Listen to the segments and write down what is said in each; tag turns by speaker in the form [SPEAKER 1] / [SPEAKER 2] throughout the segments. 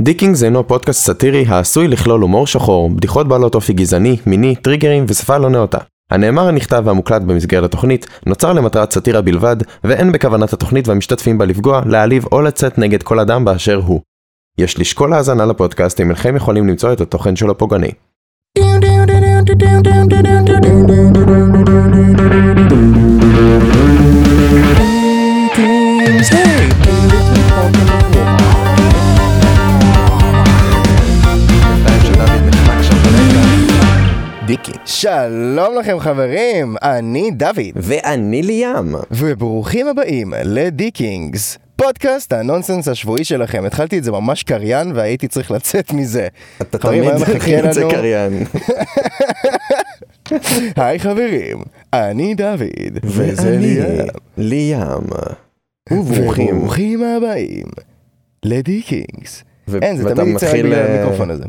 [SPEAKER 1] דיקינגס אינו פודקאסט סאטירי העשוי לכלול הומור שחור, בדיחות בעלות אופי גזעני, מיני, טריגרים ושפה לא נאותה. הנאמר הנכתב והמוקלט במסגרת התוכנית נוצר למטרת סאטירה בלבד, ואין בכוונת התוכנית והמשתתפים בה לפגוע, להעליב או לצאת נגד כל אדם באשר הוא. יש לשקול האזנה לפודקאסט אם אינכם יכולים למצוא את התוכן שלו פוגעני. דיקי.
[SPEAKER 2] שלום לכם חברים, אני דוד,
[SPEAKER 1] ואני ליאם.
[SPEAKER 2] וברוכים הבאים לדיקינגס, פודקאסט הנונסנס השבועי שלכם. התחלתי את זה ממש קריין והייתי צריך לצאת מזה.
[SPEAKER 1] אתה
[SPEAKER 2] חברים,
[SPEAKER 1] תמיד
[SPEAKER 2] היום מחכה
[SPEAKER 1] יוצא
[SPEAKER 2] לנו-
[SPEAKER 1] קריין.
[SPEAKER 2] היי חברים, אני דוד, וזה
[SPEAKER 1] ואני
[SPEAKER 2] ליאם,
[SPEAKER 1] ליאם. וברוכים.
[SPEAKER 2] וברוכים הבאים לדיקינגס.
[SPEAKER 1] ו-
[SPEAKER 2] אין, זה
[SPEAKER 1] ואתה
[SPEAKER 2] תמיד יצא רק
[SPEAKER 1] מתחיל,
[SPEAKER 2] בגלל
[SPEAKER 1] אה,
[SPEAKER 2] המיקרופון הזה.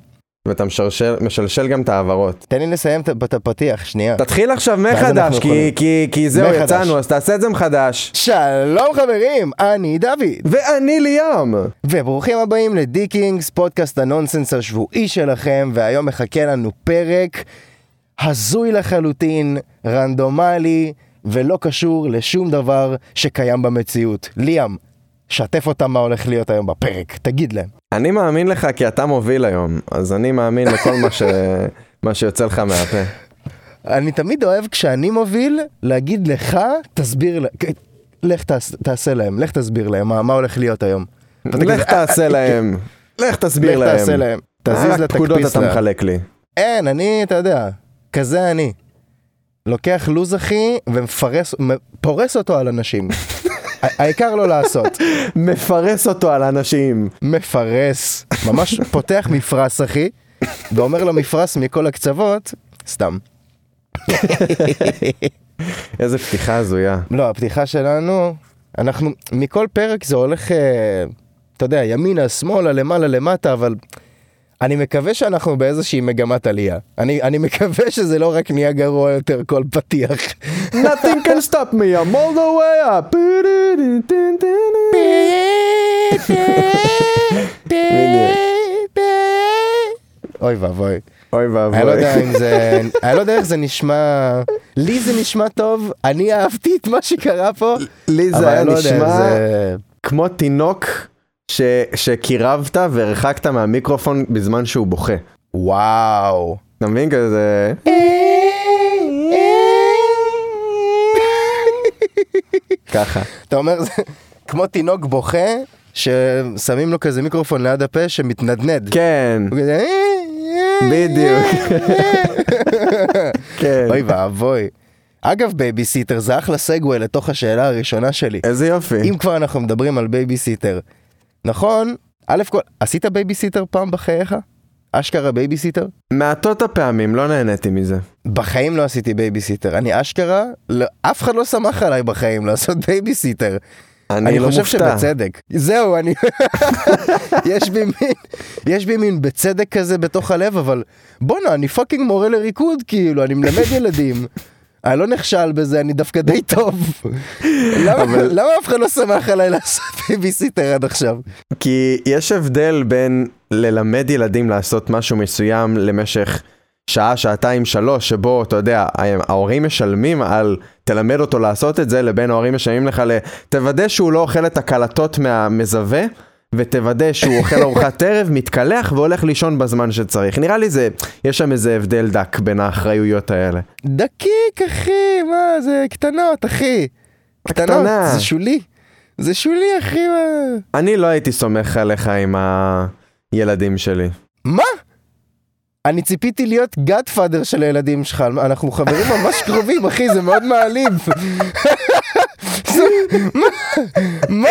[SPEAKER 1] ואתה משלשל, משלשל גם את ההעברות.
[SPEAKER 2] תן לי לסיים את את הפתיח, שנייה.
[SPEAKER 1] תתחיל עכשיו
[SPEAKER 2] ואז
[SPEAKER 1] מחדש,
[SPEAKER 2] אנחנו
[SPEAKER 1] כי,
[SPEAKER 2] יכולים.
[SPEAKER 1] כי, כי זהו,
[SPEAKER 2] מחדש.
[SPEAKER 1] יצאנו, אז תעשה את זה מחדש.
[SPEAKER 2] שלום חברים, אני דוד.
[SPEAKER 1] ואני ליאם!
[SPEAKER 2] וברוכים הבאים לדיקינגס, פודקאסט הנונסנס השבועי שלכם, והיום מחכה לנו פרק הזוי לחלוטין, רנדומלי, ולא קשור לשום דבר שקיים במציאות. ליאם, שתף אותם מה הולך להיות היום בפרק, תגיד להם.
[SPEAKER 1] אני מאמין לך כי אתה מוביל היום, אז אני מאמין לכל מה, ש... מה שיוצא לך מהפה.
[SPEAKER 2] אני תמיד אוהב כשאני מוביל, להגיד לך, תסביר, ל- לך תעש, תעשה להם, לך תסביר להם מה, מה הולך להיות היום. אתה תגיד, אה,
[SPEAKER 1] לך תעשה להם, לך תסביר
[SPEAKER 2] לך
[SPEAKER 1] להם.
[SPEAKER 2] תעשה להם, תזיז לה,
[SPEAKER 1] רק פקודות
[SPEAKER 2] תקפיץ
[SPEAKER 1] אתה
[SPEAKER 2] לה.
[SPEAKER 1] מחלק לי.
[SPEAKER 2] אין, אני, אתה יודע, כזה אני. לוקח לוז אחי ומפרס, מ- פורס אותו על אנשים. ה- העיקר לא לעשות.
[SPEAKER 1] מפרס אותו על אנשים.
[SPEAKER 2] מפרס. ממש פותח מפרס אחי, ואומר לו מפרס מכל הקצוות, סתם.
[SPEAKER 1] איזה פתיחה הזויה.
[SPEAKER 2] לא, הפתיחה שלנו, אנחנו, מכל פרק זה הולך, אה, אתה יודע, ימינה, שמאלה, למעלה, למטה, אבל אני מקווה שאנחנו באיזושהי מגמת עלייה. אני, אני מקווה שזה לא רק נהיה גרוע יותר כל פתיח.
[SPEAKER 1] Nothing can stop me, I'm all the way up.
[SPEAKER 2] אוי ואבוי.
[SPEAKER 1] אוי
[SPEAKER 2] אני לא
[SPEAKER 1] ואבוי.
[SPEAKER 2] יודע אם זה... אני לא יודע איך זה נשמע... לי זה נשמע טוב, אני אהבתי את מה שקרה פה.
[SPEAKER 1] לי
[SPEAKER 2] אבל
[SPEAKER 1] זה היה
[SPEAKER 2] אני לא יודע אם
[SPEAKER 1] נשמע
[SPEAKER 2] זה-
[SPEAKER 1] כמו תינוק ש... שקירבת והרחקת מהמיקרופון בזמן שהוא בוכה.
[SPEAKER 2] וואו.
[SPEAKER 1] אתה מבין כזה? ככה.
[SPEAKER 2] אתה אומר, זה כמו תינוק בוכה, ששמים לו כזה מיקרופון ליד הפה שמתנדנד.
[SPEAKER 1] כן,
[SPEAKER 2] הוא כזה...
[SPEAKER 1] בדיוק. כן.
[SPEAKER 2] אוי ואבוי. אגב, בייביסיטר זה אחלה סגווי לתוך השאלה הראשונה שלי.
[SPEAKER 1] איזה יופי.
[SPEAKER 2] אם כבר אנחנו מדברים על בייביסיטר, נכון? א' כל, עשית בייביסיטר פעם בחייך? אשכרה בייביסיטר?
[SPEAKER 1] מעטות הפעמים לא נהניתי מזה.
[SPEAKER 2] בחיים לא עשיתי בייביסיטר. אני אשכרה, לא, אף אחד לא סמך עליי בחיים לעשות בייביסיטר.
[SPEAKER 1] אני
[SPEAKER 2] אני
[SPEAKER 1] לא
[SPEAKER 2] חושב
[SPEAKER 1] מופתע.
[SPEAKER 2] שבצדק. זהו, אני... יש בי מין, יש בי מין בצדק כזה בתוך הלב, אבל בואנה, אני פאקינג מורה לריקוד, כאילו, אני מלמד ילדים. אני לא נכשל בזה, אני דווקא די טוב. למה, למה אף אחד לא שמח עליי לעשות בייביסיטר עד עכשיו?
[SPEAKER 1] כי יש הבדל בין ללמד ילדים לעשות משהו מסוים למשך שעה, שעתיים, שלוש, שבו, אתה יודע, ההורים משלמים על תלמד אותו לעשות את זה, לבין ההורים משלמים לך ל... תוודא שהוא לא אוכל את הקלטות מהמזווה, ותוודא שהוא אוכל ארוחת ערב, מתקלח והולך לישון בזמן שצריך. נראה לי זה, יש שם איזה הבדל דק בין האחריויות האלה.
[SPEAKER 2] דקיק, אחי, מה, זה קטנות, אחי. קטנות,
[SPEAKER 1] הקטנה.
[SPEAKER 2] זה שולי. זה שולי, אחי, מה...
[SPEAKER 1] אני לא הייתי סומך עליך עם הילדים שלי.
[SPEAKER 2] מה? אני ציפיתי להיות גאדפאדר של הילדים שלך, אנחנו חברים ממש קרובים, אחי, זה מאוד מעליב. זה- מה? מה?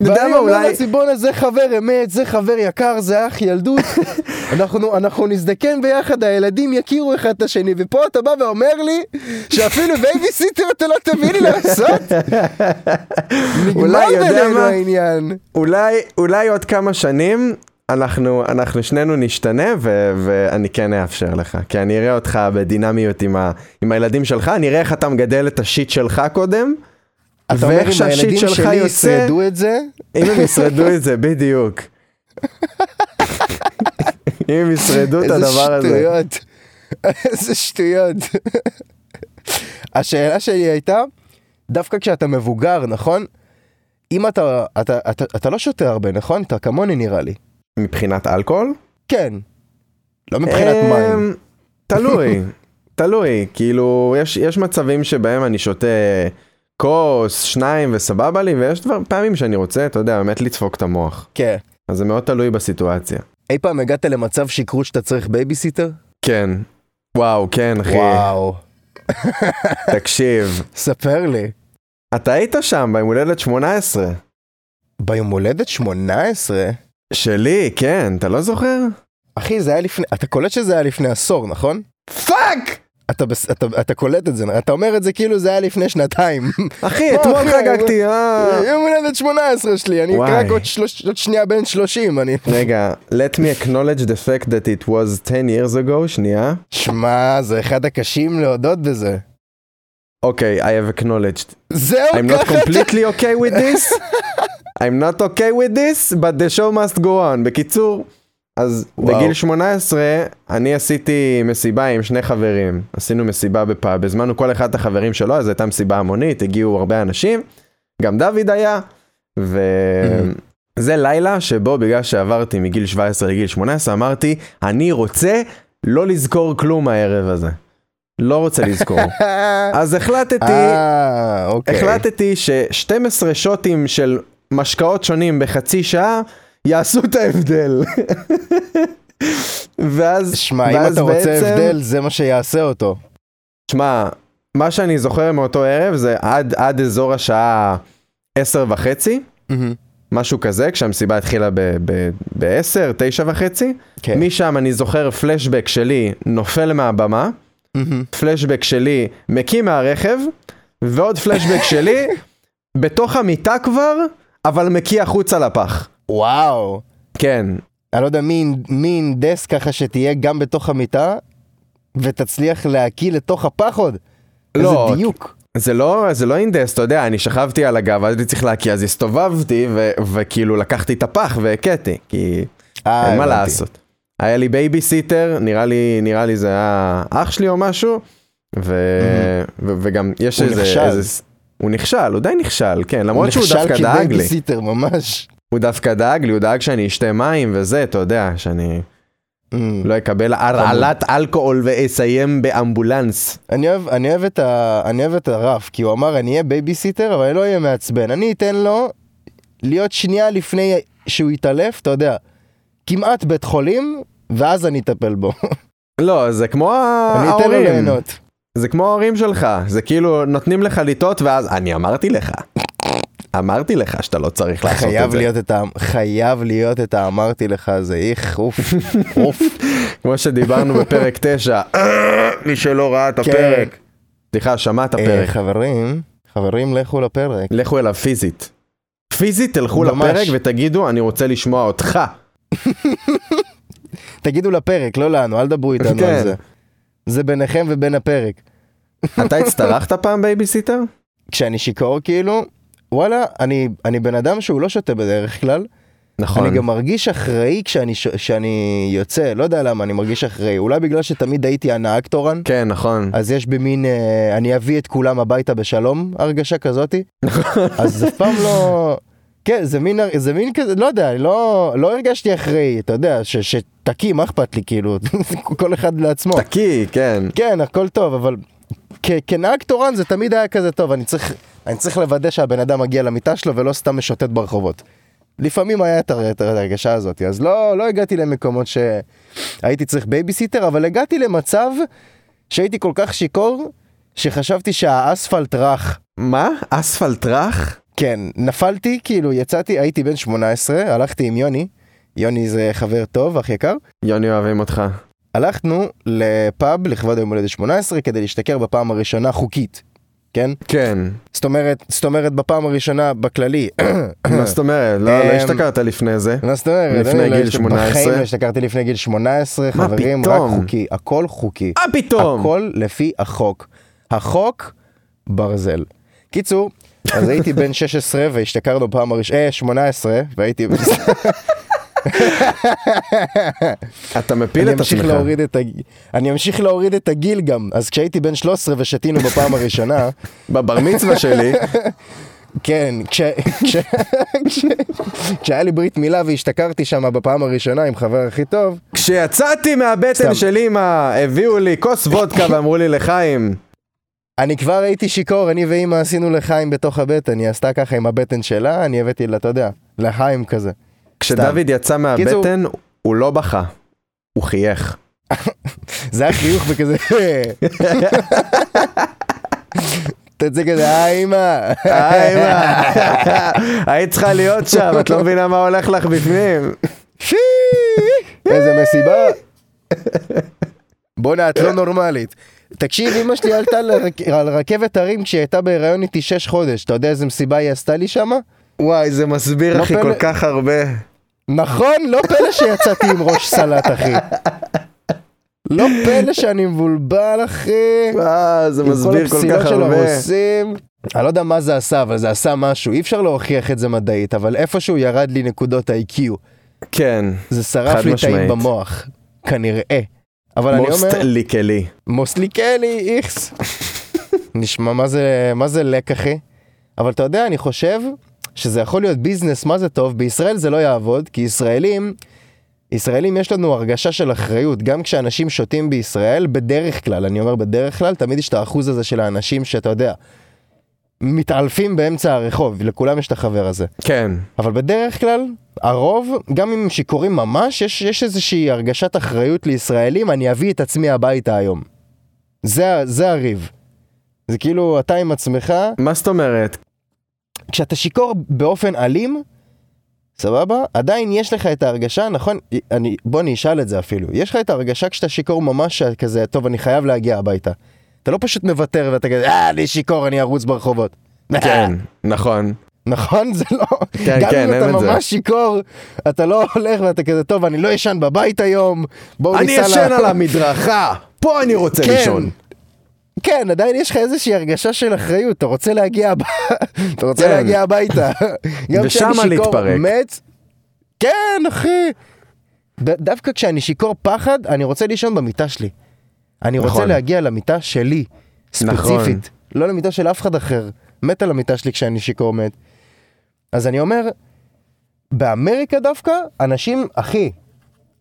[SPEAKER 1] יודע
[SPEAKER 2] ואני
[SPEAKER 1] מה,
[SPEAKER 2] אומר
[SPEAKER 1] אולי-
[SPEAKER 2] לציבון הזה חבר אמת, זה חבר יקר, זה אח ילדות. אנחנו, אנחנו נזדקן ביחד, הילדים יכירו אחד את השני, ופה אתה בא ואומר לי שאפילו בייביסיטר אתה לא תביא לי לעשות?
[SPEAKER 1] אולי,
[SPEAKER 2] נגמר
[SPEAKER 1] יודע
[SPEAKER 2] בינינו
[SPEAKER 1] מה?
[SPEAKER 2] העניין.
[SPEAKER 1] אולי, אולי עוד כמה שנים אנחנו, אנחנו שנינו נשתנה ו, ואני כן אאפשר לך. כי אני אראה אותך בדינמיות עם, ה, עם הילדים שלך, אני אראה איך אתה מגדל את השיט שלך קודם.
[SPEAKER 2] אתה אומר,
[SPEAKER 1] ואיך
[SPEAKER 2] אם
[SPEAKER 1] שהשיט
[SPEAKER 2] הילדים
[SPEAKER 1] שלך
[SPEAKER 2] שלי
[SPEAKER 1] יוצא-
[SPEAKER 2] יצרדו את זה,
[SPEAKER 1] אם הם ישרדו את זה, בדיוק. אם הם ישרדו את הדבר הזה.
[SPEAKER 2] איזה שטויות. איזה שטויות. השאלה שלי הייתה, דווקא כשאתה מבוגר, נכון? אם אתה, אתה, אתה, אתה לא שותה הרבה, נכון? אתה כמוני נראה לי.
[SPEAKER 1] מבחינת אלכוהול?
[SPEAKER 2] כן. לא מבחינת
[SPEAKER 1] אמ,
[SPEAKER 2] מים.
[SPEAKER 1] תלוי, תלוי. כאילו, יש, יש מצבים שבהם אני שותה כוס, שניים וסבבה לי, ויש דבר, פעמים שאני רוצה, אתה יודע, באמת לדפוק את המוח.
[SPEAKER 2] כן.
[SPEAKER 1] אז זה מאוד תלוי בסיטואציה.
[SPEAKER 2] אי פעם הגעת למצב שכרות שאתה צריך בייביסיטר?
[SPEAKER 1] כן. וואו, כן, אחי.
[SPEAKER 2] וואו.
[SPEAKER 1] תקשיב,
[SPEAKER 2] ספר לי.
[SPEAKER 1] אתה היית שם ביום הולדת 18.
[SPEAKER 2] ביום הולדת 18?
[SPEAKER 1] שלי, כן, אתה לא זוכר?
[SPEAKER 2] אחי, זה היה לפני... אתה קולט שזה היה לפני עשור, נכון?
[SPEAKER 1] פאק!
[SPEAKER 2] אתה, בס... אתה, אתה קולט את זה, אתה אומר את זה כאילו זה היה לפני שנתיים.
[SPEAKER 1] אחי,
[SPEAKER 2] לא,
[SPEAKER 1] אתמול
[SPEAKER 2] אחי,
[SPEAKER 1] חגגתי, אה...
[SPEAKER 2] יום הולדת 18 שלי, אני
[SPEAKER 1] וואי.
[SPEAKER 2] רק עוד, שלוש... עוד שנייה בן 30, אני...
[SPEAKER 1] רגע, let me acknowledge the fact that it was 10 years ago, שנייה.
[SPEAKER 2] שמע, זה אחד הקשים להודות בזה.
[SPEAKER 1] אוקיי, I have acknowledged.
[SPEAKER 2] זהו,
[SPEAKER 1] I'm not
[SPEAKER 2] ככה אתה...
[SPEAKER 1] completely okay with this. I'm not okay with this, but the show must go on. בקיצור, אז
[SPEAKER 2] וואו.
[SPEAKER 1] בגיל 18 אני עשיתי מסיבה עם שני חברים. עשינו מסיבה בפאב, הזמנו כל אחד את החברים שלו, אז הייתה מסיבה המונית, הגיעו הרבה אנשים, גם דוד היה,
[SPEAKER 2] Mm-hmm.
[SPEAKER 1] וזה לילה שבו בגלל שעברתי מגיל 17 לגיל 18 אמרתי, אני רוצה לא לזכור כלום הערב הזה. לא רוצה לזכור. אז החלטתי
[SPEAKER 2] אה, אוקיי.
[SPEAKER 1] החלטתי ש-12 שוטים של משקאות שונים בחצי שעה יעשו את ההבדל. ואז,
[SPEAKER 2] שמע, אם
[SPEAKER 1] ואז
[SPEAKER 2] אתה רוצה הבדל, זה מה שיעשה אותו.
[SPEAKER 1] שמע, מה שאני זוכר מאותו ערב זה עד, עד אזור השעה 10 וחצי, משהו כזה, כשהמסיבה התחילה ב-10, ב- ב- 9 וחצי.
[SPEAKER 2] כן.
[SPEAKER 1] משם אני זוכר פלשבק שלי נופל מהבמה.
[SPEAKER 2] מהמם.
[SPEAKER 1] פלשבק שלי מקים מהרכב, ועוד פלשבק שלי בתוך המיטה כבר, אבל מקיא החוצה לפח.
[SPEAKER 2] וואו.
[SPEAKER 1] כן,
[SPEAKER 2] אני לא יודע מי מי הנדס ככה שתהיה גם בתוך המיטה, ותצליח להקיא לתוך הפח עוד.
[SPEAKER 1] לא,
[SPEAKER 2] איזה דיוק.
[SPEAKER 1] זה לא, זה לא אינדס, אתה יודע, אני שכבתי על הגב, אז הייתי צריך להקיא, אז הסתובבתי, ו- וכאילו לקחתי את הפח והכיתי, כי
[SPEAKER 2] אה,
[SPEAKER 1] אין מה
[SPEAKER 2] הבנתי.
[SPEAKER 1] לעשות. היה לי בייביסיטר, נראה לי, נראה לי זה היה אח שלי או משהו, ו... ו- וגם יש
[SPEAKER 2] הוא
[SPEAKER 1] איזה...
[SPEAKER 2] נכשל.
[SPEAKER 1] איזה... הוא נכשל, הוא די נכשל, כן, למרות שהוא דווקא
[SPEAKER 2] הוא נכשל
[SPEAKER 1] דאג לי.
[SPEAKER 2] כבייביסיטר ממש.
[SPEAKER 1] הוא דווקא דאג לי, הוא דאג שאני אשתה מים וזה, אתה יודע, שאני
[SPEAKER 2] Mm.
[SPEAKER 1] לא אקבל הרעלת אלכוהול ואסיים באמבולנס.
[SPEAKER 2] אני אוהב, אני אוהב את ה... אני אוהב את הרף, כי הוא אמר אני אהיה בייביסיטר, אבל אני לא אהיה מעצבן. אני אתן לו להיות שנייה לפני שהוא יתעלף, אתה יודע, כמעט בית חולים, ואז אני אטפל בו.
[SPEAKER 1] לא, זה כמו
[SPEAKER 2] אני אתן לו
[SPEAKER 1] ההורים,
[SPEAKER 2] ליהנות.
[SPEAKER 1] זה כמו ההורים שלך, זה כאילו נותנים לך לטעות ואז אני אמרתי לך, אמרתי לך שאתה לא צריך לעשות את
[SPEAKER 2] חייב
[SPEAKER 1] זה.
[SPEAKER 2] להיות את ה... חייב להיות את האמרתי לך הזה, איך, אוף, אוף.
[SPEAKER 1] כמו שדיברנו בפרק 9, מי שלא ראה את הפרק, סליחה, שמע את
[SPEAKER 2] אה,
[SPEAKER 1] הפרק,
[SPEAKER 2] חברים, חברים לכו לפרק.
[SPEAKER 1] לכו אליו פיזית. פיזית תלכו
[SPEAKER 2] ממש.
[SPEAKER 1] לפרק ותגידו, אני רוצה לשמוע אותך.
[SPEAKER 2] תגידו לפרק, לא לנו, אל דברו איתנו
[SPEAKER 1] כן.
[SPEAKER 2] על זה. זה ביניכם ובין הפרק.
[SPEAKER 1] אתה הצטרכת פעם בייביסיטר?
[SPEAKER 2] כשאני שיכור כאילו, וואלה, אני, אני בן אדם שהוא לא שותה בדרך כלל,
[SPEAKER 1] נכון.
[SPEAKER 2] אני גם מרגיש אחראי כשאני, ש... כשאני יוצא, לא יודע למה אני מרגיש אחראי, אולי בגלל שתמיד הייתי הנהג תורן,
[SPEAKER 1] כן, נכון.
[SPEAKER 2] אז יש במין, אה, אני אביא את כולם הביתה בשלום, הרגשה כזאתי,
[SPEAKER 1] נכון.
[SPEAKER 2] אז אף פעם לא, כן, זה מין, זה מין כזה, לא יודע, אני לא, לא הרגשתי אחראי, אתה יודע, ש... שתקי, מה אכפת לי, כאילו, כל אחד לעצמו.
[SPEAKER 1] תקי, כן.
[SPEAKER 2] כן, הכל טוב, אבל כ- כנהג תורן זה תמיד היה כזה טוב, אני צריך, אני צריך לוודא שהבן אדם מגיע למיטה שלו ולא סתם משוטט ברחובות. לפעמים היה את הר- את הרגשה הזאת, אז לא, לא הגעתי למקומות שהייתי צריך בייביסיטר, אבל הגעתי למצב שהייתי כל כך שיכור, שחשבתי שהאספלט רך.
[SPEAKER 1] מה? אספלט רך?
[SPEAKER 2] כן, נפלתי, כאילו יצאתי, הייתי בן 18, הלכתי עם יוני, יוני זה חבר טוב, אח יקר,
[SPEAKER 1] יוני אוהבים אותך.
[SPEAKER 2] הלכנו לפאב לכבוד היום הולדת 18 כדי להשתכר בפעם הראשונה חוקית, כן?
[SPEAKER 1] כן.
[SPEAKER 2] זאת אומרת, זאת אומרת בפעם הראשונה בכללי,
[SPEAKER 1] מה זאת אומרת? לא
[SPEAKER 2] אמ,
[SPEAKER 1] לא השתכרת לפני זה.
[SPEAKER 2] מה זאת אומרת?
[SPEAKER 1] לפני
[SPEAKER 2] אני לא
[SPEAKER 1] גיל
[SPEAKER 2] השת-
[SPEAKER 1] 18?
[SPEAKER 2] בחיים לא השתכרתי לפני גיל 18,
[SPEAKER 1] מה
[SPEAKER 2] חברים, רק
[SPEAKER 1] פתאום?
[SPEAKER 2] חוקי, הכל חוקי,
[SPEAKER 1] מה פתאום?
[SPEAKER 2] הכל לפי החוק, החוק ברזל. קיצור, אז הייתי בן 16 והשתכרנו פעם הראשונה, אה, 18, והייתי...
[SPEAKER 1] אתה מפיל
[SPEAKER 2] אני
[SPEAKER 1] את
[SPEAKER 2] אמשיך
[SPEAKER 1] עצמך.
[SPEAKER 2] להוריד את הגיל, אני אמשיך להוריד את הגיל גם, אז כשהייתי בן 13 ושתינו בפעם הראשונה,
[SPEAKER 1] בבר מצווה שלי,
[SPEAKER 2] כן, כש... כש... כש... כשהיה לי ברית מילה והשתכרתי שם בפעם הראשונה עם חבר הכי טוב,
[SPEAKER 1] כשיצאתי מהבטן
[SPEAKER 2] סתם.
[SPEAKER 1] של אמא, הביאו לי כוס וודקה ואמרו לי לחיים,
[SPEAKER 2] אני כבר הייתי שיכור, אני ואימא עשינו לחיים בתוך הבטן, היא עשתה ככה עם הבטן שלה, אני הבאתי לה, אתה יודע, לחיים כזה.
[SPEAKER 1] כשדוד יצא מהבטן, הוא לא בכה, הוא חייך.
[SPEAKER 2] זה היה חיוך וכזה... תצא כזה, היי אימא.
[SPEAKER 1] אה, אמא, היית צריכה להיות שם, את לא מבינה מה הולך לך בפנים.
[SPEAKER 2] שי! איזה מסיבה. בואנה, את לא נורמלית. תקשיב, אמא שלי עלתה לרכ- על רכבת הרים כשהיא הייתה בהיריון איתי 6 חודש. אתה יודע איזה מסיבה היא עשתה לי שמה?
[SPEAKER 1] וואי, זה מסביר
[SPEAKER 2] לא
[SPEAKER 1] אחי כל
[SPEAKER 2] פלא.
[SPEAKER 1] כך הרבה.
[SPEAKER 2] נכון, לא פלא שיצאתי עם ראש סלט, אחי. לא פלא שאני מבולבל, אחי.
[SPEAKER 1] אה, זה
[SPEAKER 2] עם כל
[SPEAKER 1] מסביר כל
[SPEAKER 2] הפסילות
[SPEAKER 1] כך
[SPEAKER 2] של
[SPEAKER 1] הרבה.
[SPEAKER 2] הרוסים. אני לא יודע מה זה עשה, אבל זה עשה משהו. אי אפשר להוכיח את זה מדעית, אבל איפשהו ירד לי נקודות ה-IQ.
[SPEAKER 1] כן,
[SPEAKER 2] זה
[SPEAKER 1] חד
[SPEAKER 2] שרף לי את האם
[SPEAKER 1] משמעית.
[SPEAKER 2] במוח, כנראה. אבל אני
[SPEAKER 1] מוסט
[SPEAKER 2] אומר,
[SPEAKER 1] ליקלי.
[SPEAKER 2] מוסליקלי איכס. נשמע מה זה, מה זה לק אחי. אבל אתה יודע, אני חושב שזה יכול להיות ביזנס, מה זה טוב, בישראל זה לא יעבוד, כי ישראלים, ישראלים יש לנו הרגשה של אחריות, גם כשאנשים שותים בישראל, בדרך כלל, אני אומר בדרך כלל, תמיד יש את האחוז הזה של האנשים שאתה יודע, מתעלפים באמצע הרחוב, לכולם יש את החבר הזה.
[SPEAKER 1] כן,
[SPEAKER 2] אבל בדרך כלל, הרוב, גם אם הם שיכורים ממש, יש, יש איזושהי הרגשת אחריות לישראלים, אני אביא את עצמי הביתה היום. זה, ה- זה הריב. זה כאילו, אתה עם עצמך,
[SPEAKER 1] מה זאת אומרת?
[SPEAKER 2] כשאתה שיכור באופן אלים, סבבה? עדיין יש לך את ההרגשה, נכון? אני, בוא אני אשאל את זה אפילו. יש לך את ההרגשה כשאתה שיכור ממש כזה, טוב, אני חייב להגיע הביתה. אתה לא פשוט מוותר ואתה כזה, אה, אני שיכור, אני ארוץ ברחובות. אה,
[SPEAKER 1] כן, נכון.
[SPEAKER 2] נכון? זה לא...
[SPEAKER 1] כן,
[SPEAKER 2] גם
[SPEAKER 1] כן,
[SPEAKER 2] אם אתה
[SPEAKER 1] אין את זה.
[SPEAKER 2] ממש שיכור, אתה לא הולך ואתה כזה, טוב, אני לא ישן בבית היום, בואו
[SPEAKER 1] אני
[SPEAKER 2] ניסע ל...
[SPEAKER 1] ישן על המדרכה, פה אני רוצה
[SPEAKER 2] כן.
[SPEAKER 1] לישון.
[SPEAKER 2] כן, עדיין יש לך איזושהי הרגשה של אחריות, אתה רוצה להגיע, הב... אתה רוצה
[SPEAKER 1] כן.
[SPEAKER 2] להגיע הביתה. גם
[SPEAKER 1] ושמה
[SPEAKER 2] כשאני שיכור
[SPEAKER 1] להתפרק.
[SPEAKER 2] מת... כן, אחי. ד- דווקא כשאני שיכור פחד, אני רוצה לישון במיטה שלי. אני רוצה
[SPEAKER 1] נכון.
[SPEAKER 2] להגיע למיטה שלי, ספציפית.
[SPEAKER 1] נכון.
[SPEAKER 2] לא למיטה של אף אחד אחר. מת על המיטה שלי כשאני שיכור מת. אז אני אומר, באמריקה דווקא, אנשים, אחי,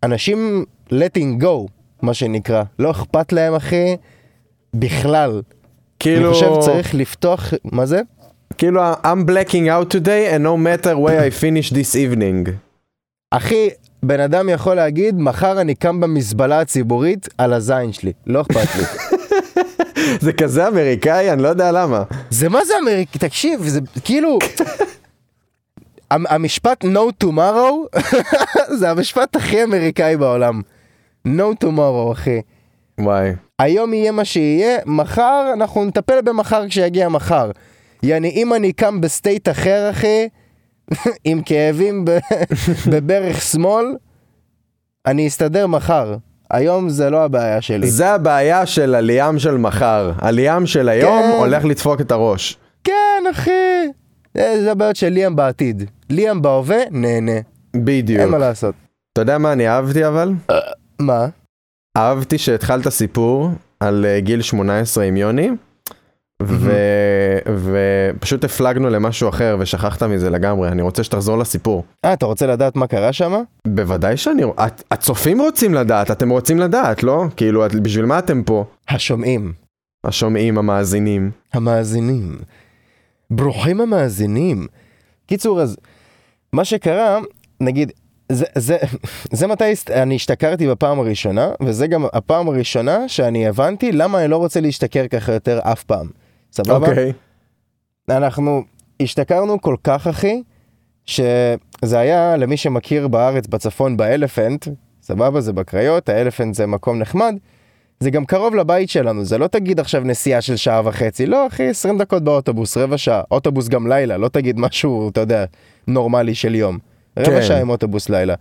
[SPEAKER 2] אנשים letting go, מה שנקרא. לא אכפת להם, אחי, בכלל.
[SPEAKER 1] כאילו,
[SPEAKER 2] אני חושב צריך לפתוח, מה זה?
[SPEAKER 1] כאילו, I'm blacking out today and no matter where I finish this evening.
[SPEAKER 2] אחי, בן אדם יכול להגיד, מחר אני קם במזבלה הציבורית על הזין שלי, לא אכפת לי.
[SPEAKER 1] זה כזה אמריקאי, אני לא יודע למה.
[SPEAKER 2] זה מה זה אמריקאי? תקשיב, זה כאילו... המ- המשפט no tomorrow זה המשפט הכי אמריקאי בעולם. no tomorrow אחי.
[SPEAKER 1] וואי.
[SPEAKER 2] היום יהיה מה שיהיה, מחר אנחנו נטפל במחר כשיגיע מחר. יעני אם אני קם בסטייט אחר אחי, עם כאבים ב- בברך שמאל, אני אסתדר מחר. היום זה לא הבעיה שלי.
[SPEAKER 1] זה הבעיה של הליאם של מחר. הליאם של היום
[SPEAKER 2] כן.
[SPEAKER 1] הולך לדפוק את הראש.
[SPEAKER 2] כן אחי, זה זה הבעיות של ליאם בעתיד. ליאם בהווה, נהנה. אין
[SPEAKER 1] בדיוק.
[SPEAKER 2] מה לעשות.
[SPEAKER 1] אתה יודע מה אני אהבתי אבל?
[SPEAKER 2] מה?
[SPEAKER 1] אהבתי שהתחלת סיפור על אה, גיל 18 עם יוני, ו- ופשוט הפלגנו למשהו אחר ושכחת מזה לגמרי. אני רוצה שתחזור לסיפור.
[SPEAKER 2] אה, אתה רוצה לדעת מה קרה שם?
[SPEAKER 1] בוודאי שאני... את- הצופים רוצים לדעת, אתם רוצים לדעת, לא? כאילו, את- בשביל מה אתם פה?
[SPEAKER 2] השומעים,
[SPEAKER 1] השומעים, המאזינים.
[SPEAKER 2] המאזינים. ברוכים המאזינים. קיצור, אז מה שקרה, נגיד, זה, זה, זה מתי הסת- אני השתכרתי בפעם הראשונה, וזה גם הפעם הראשונה שאני הבנתי למה אני לא רוצה להשתכר ככה יותר אף פעם. סבבה?
[SPEAKER 1] אוקיי.
[SPEAKER 2] אנחנו השתכרנו כל כך, אחי, שזה היה, למי שמכיר בארץ, בצפון, באלפנט, סבבה, זה בקריות, האלפנט זה מקום נחמד. זה גם קרוב לבית שלנו, זה לא תגיד עכשיו נסיעה של שעה וחצי, לא אחי, 20 דקות באוטובוס, רבע שעה, אוטובוס גם לילה, לא תגיד משהו, אתה יודע, נורמלי של יום. רבע
[SPEAKER 1] כן.
[SPEAKER 2] שעה עם אוטובוס לילה.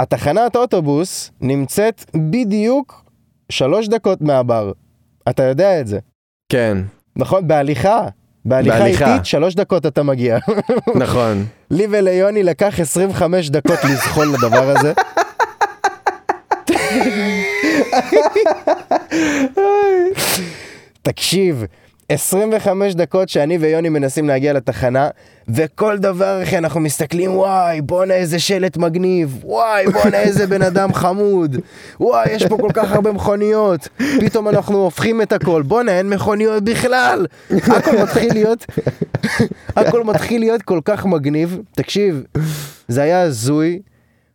[SPEAKER 2] התחנת אוטובוס נמצאת בדיוק שלוש דקות מהבר, אתה יודע את זה.
[SPEAKER 1] כן.
[SPEAKER 2] נכון? בהליכה. בהליכה
[SPEAKER 1] בהליכה.
[SPEAKER 2] איטית, שלוש דקות אתה מגיע.
[SPEAKER 1] נכון.
[SPEAKER 2] לי וליוני לקח 25 דקות לזחול לדבר הזה. תקשיב, 25 דקות שאני ויוני מנסים להגיע לתחנה, וכל דבר אחי אנחנו מסתכלים, וואי, בואנה איזה שלט מגניב, וואי, בואנה איזה בן אדם חמוד, וואי, יש פה כל כך הרבה מכוניות, פתאום אנחנו הופכים את הכל, בואנה אין מכוניות בכלל, הכל מתחיל להיות, הכל מתחיל להיות כל כך מגניב, תקשיב, זה היה הזוי.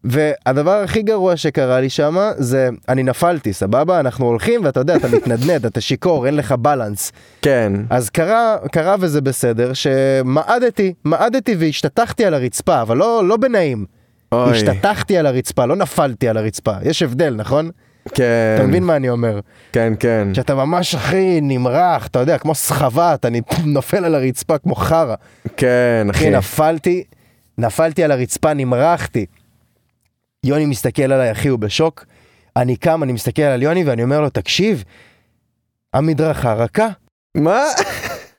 [SPEAKER 2] והדבר הכי גרוע שקרה לי שם זה אני נפלתי סבבה אנחנו הולכים ואתה יודע אתה מתנדנד אתה שיכור אין לך בלנס
[SPEAKER 1] כן.
[SPEAKER 2] אז קרה קרה וזה בסדר שמעדתי מעדתי והשתטחתי על הרצפה אבל לא לא בנעים
[SPEAKER 1] אוי.
[SPEAKER 2] השתטחתי על הרצפה לא נפלתי על הרצפה יש הבדל נכון
[SPEAKER 1] כן.
[SPEAKER 2] אתה מבין מה אני אומר
[SPEAKER 1] כן, כן.
[SPEAKER 2] שאתה ממש הכי נמרח אתה יודע כמו סחבה אתה נופל על הרצפה כמו חרא
[SPEAKER 1] כן, אחי.
[SPEAKER 2] אחי, נפלתי, נפלתי על הרצפה, נמרחתי. יוני מסתכל עליי, אחי, הוא בשוק. אני קם, אני מסתכל על יוני ואני אומר לו, תקשיב, המדרכה רכה.
[SPEAKER 1] מה?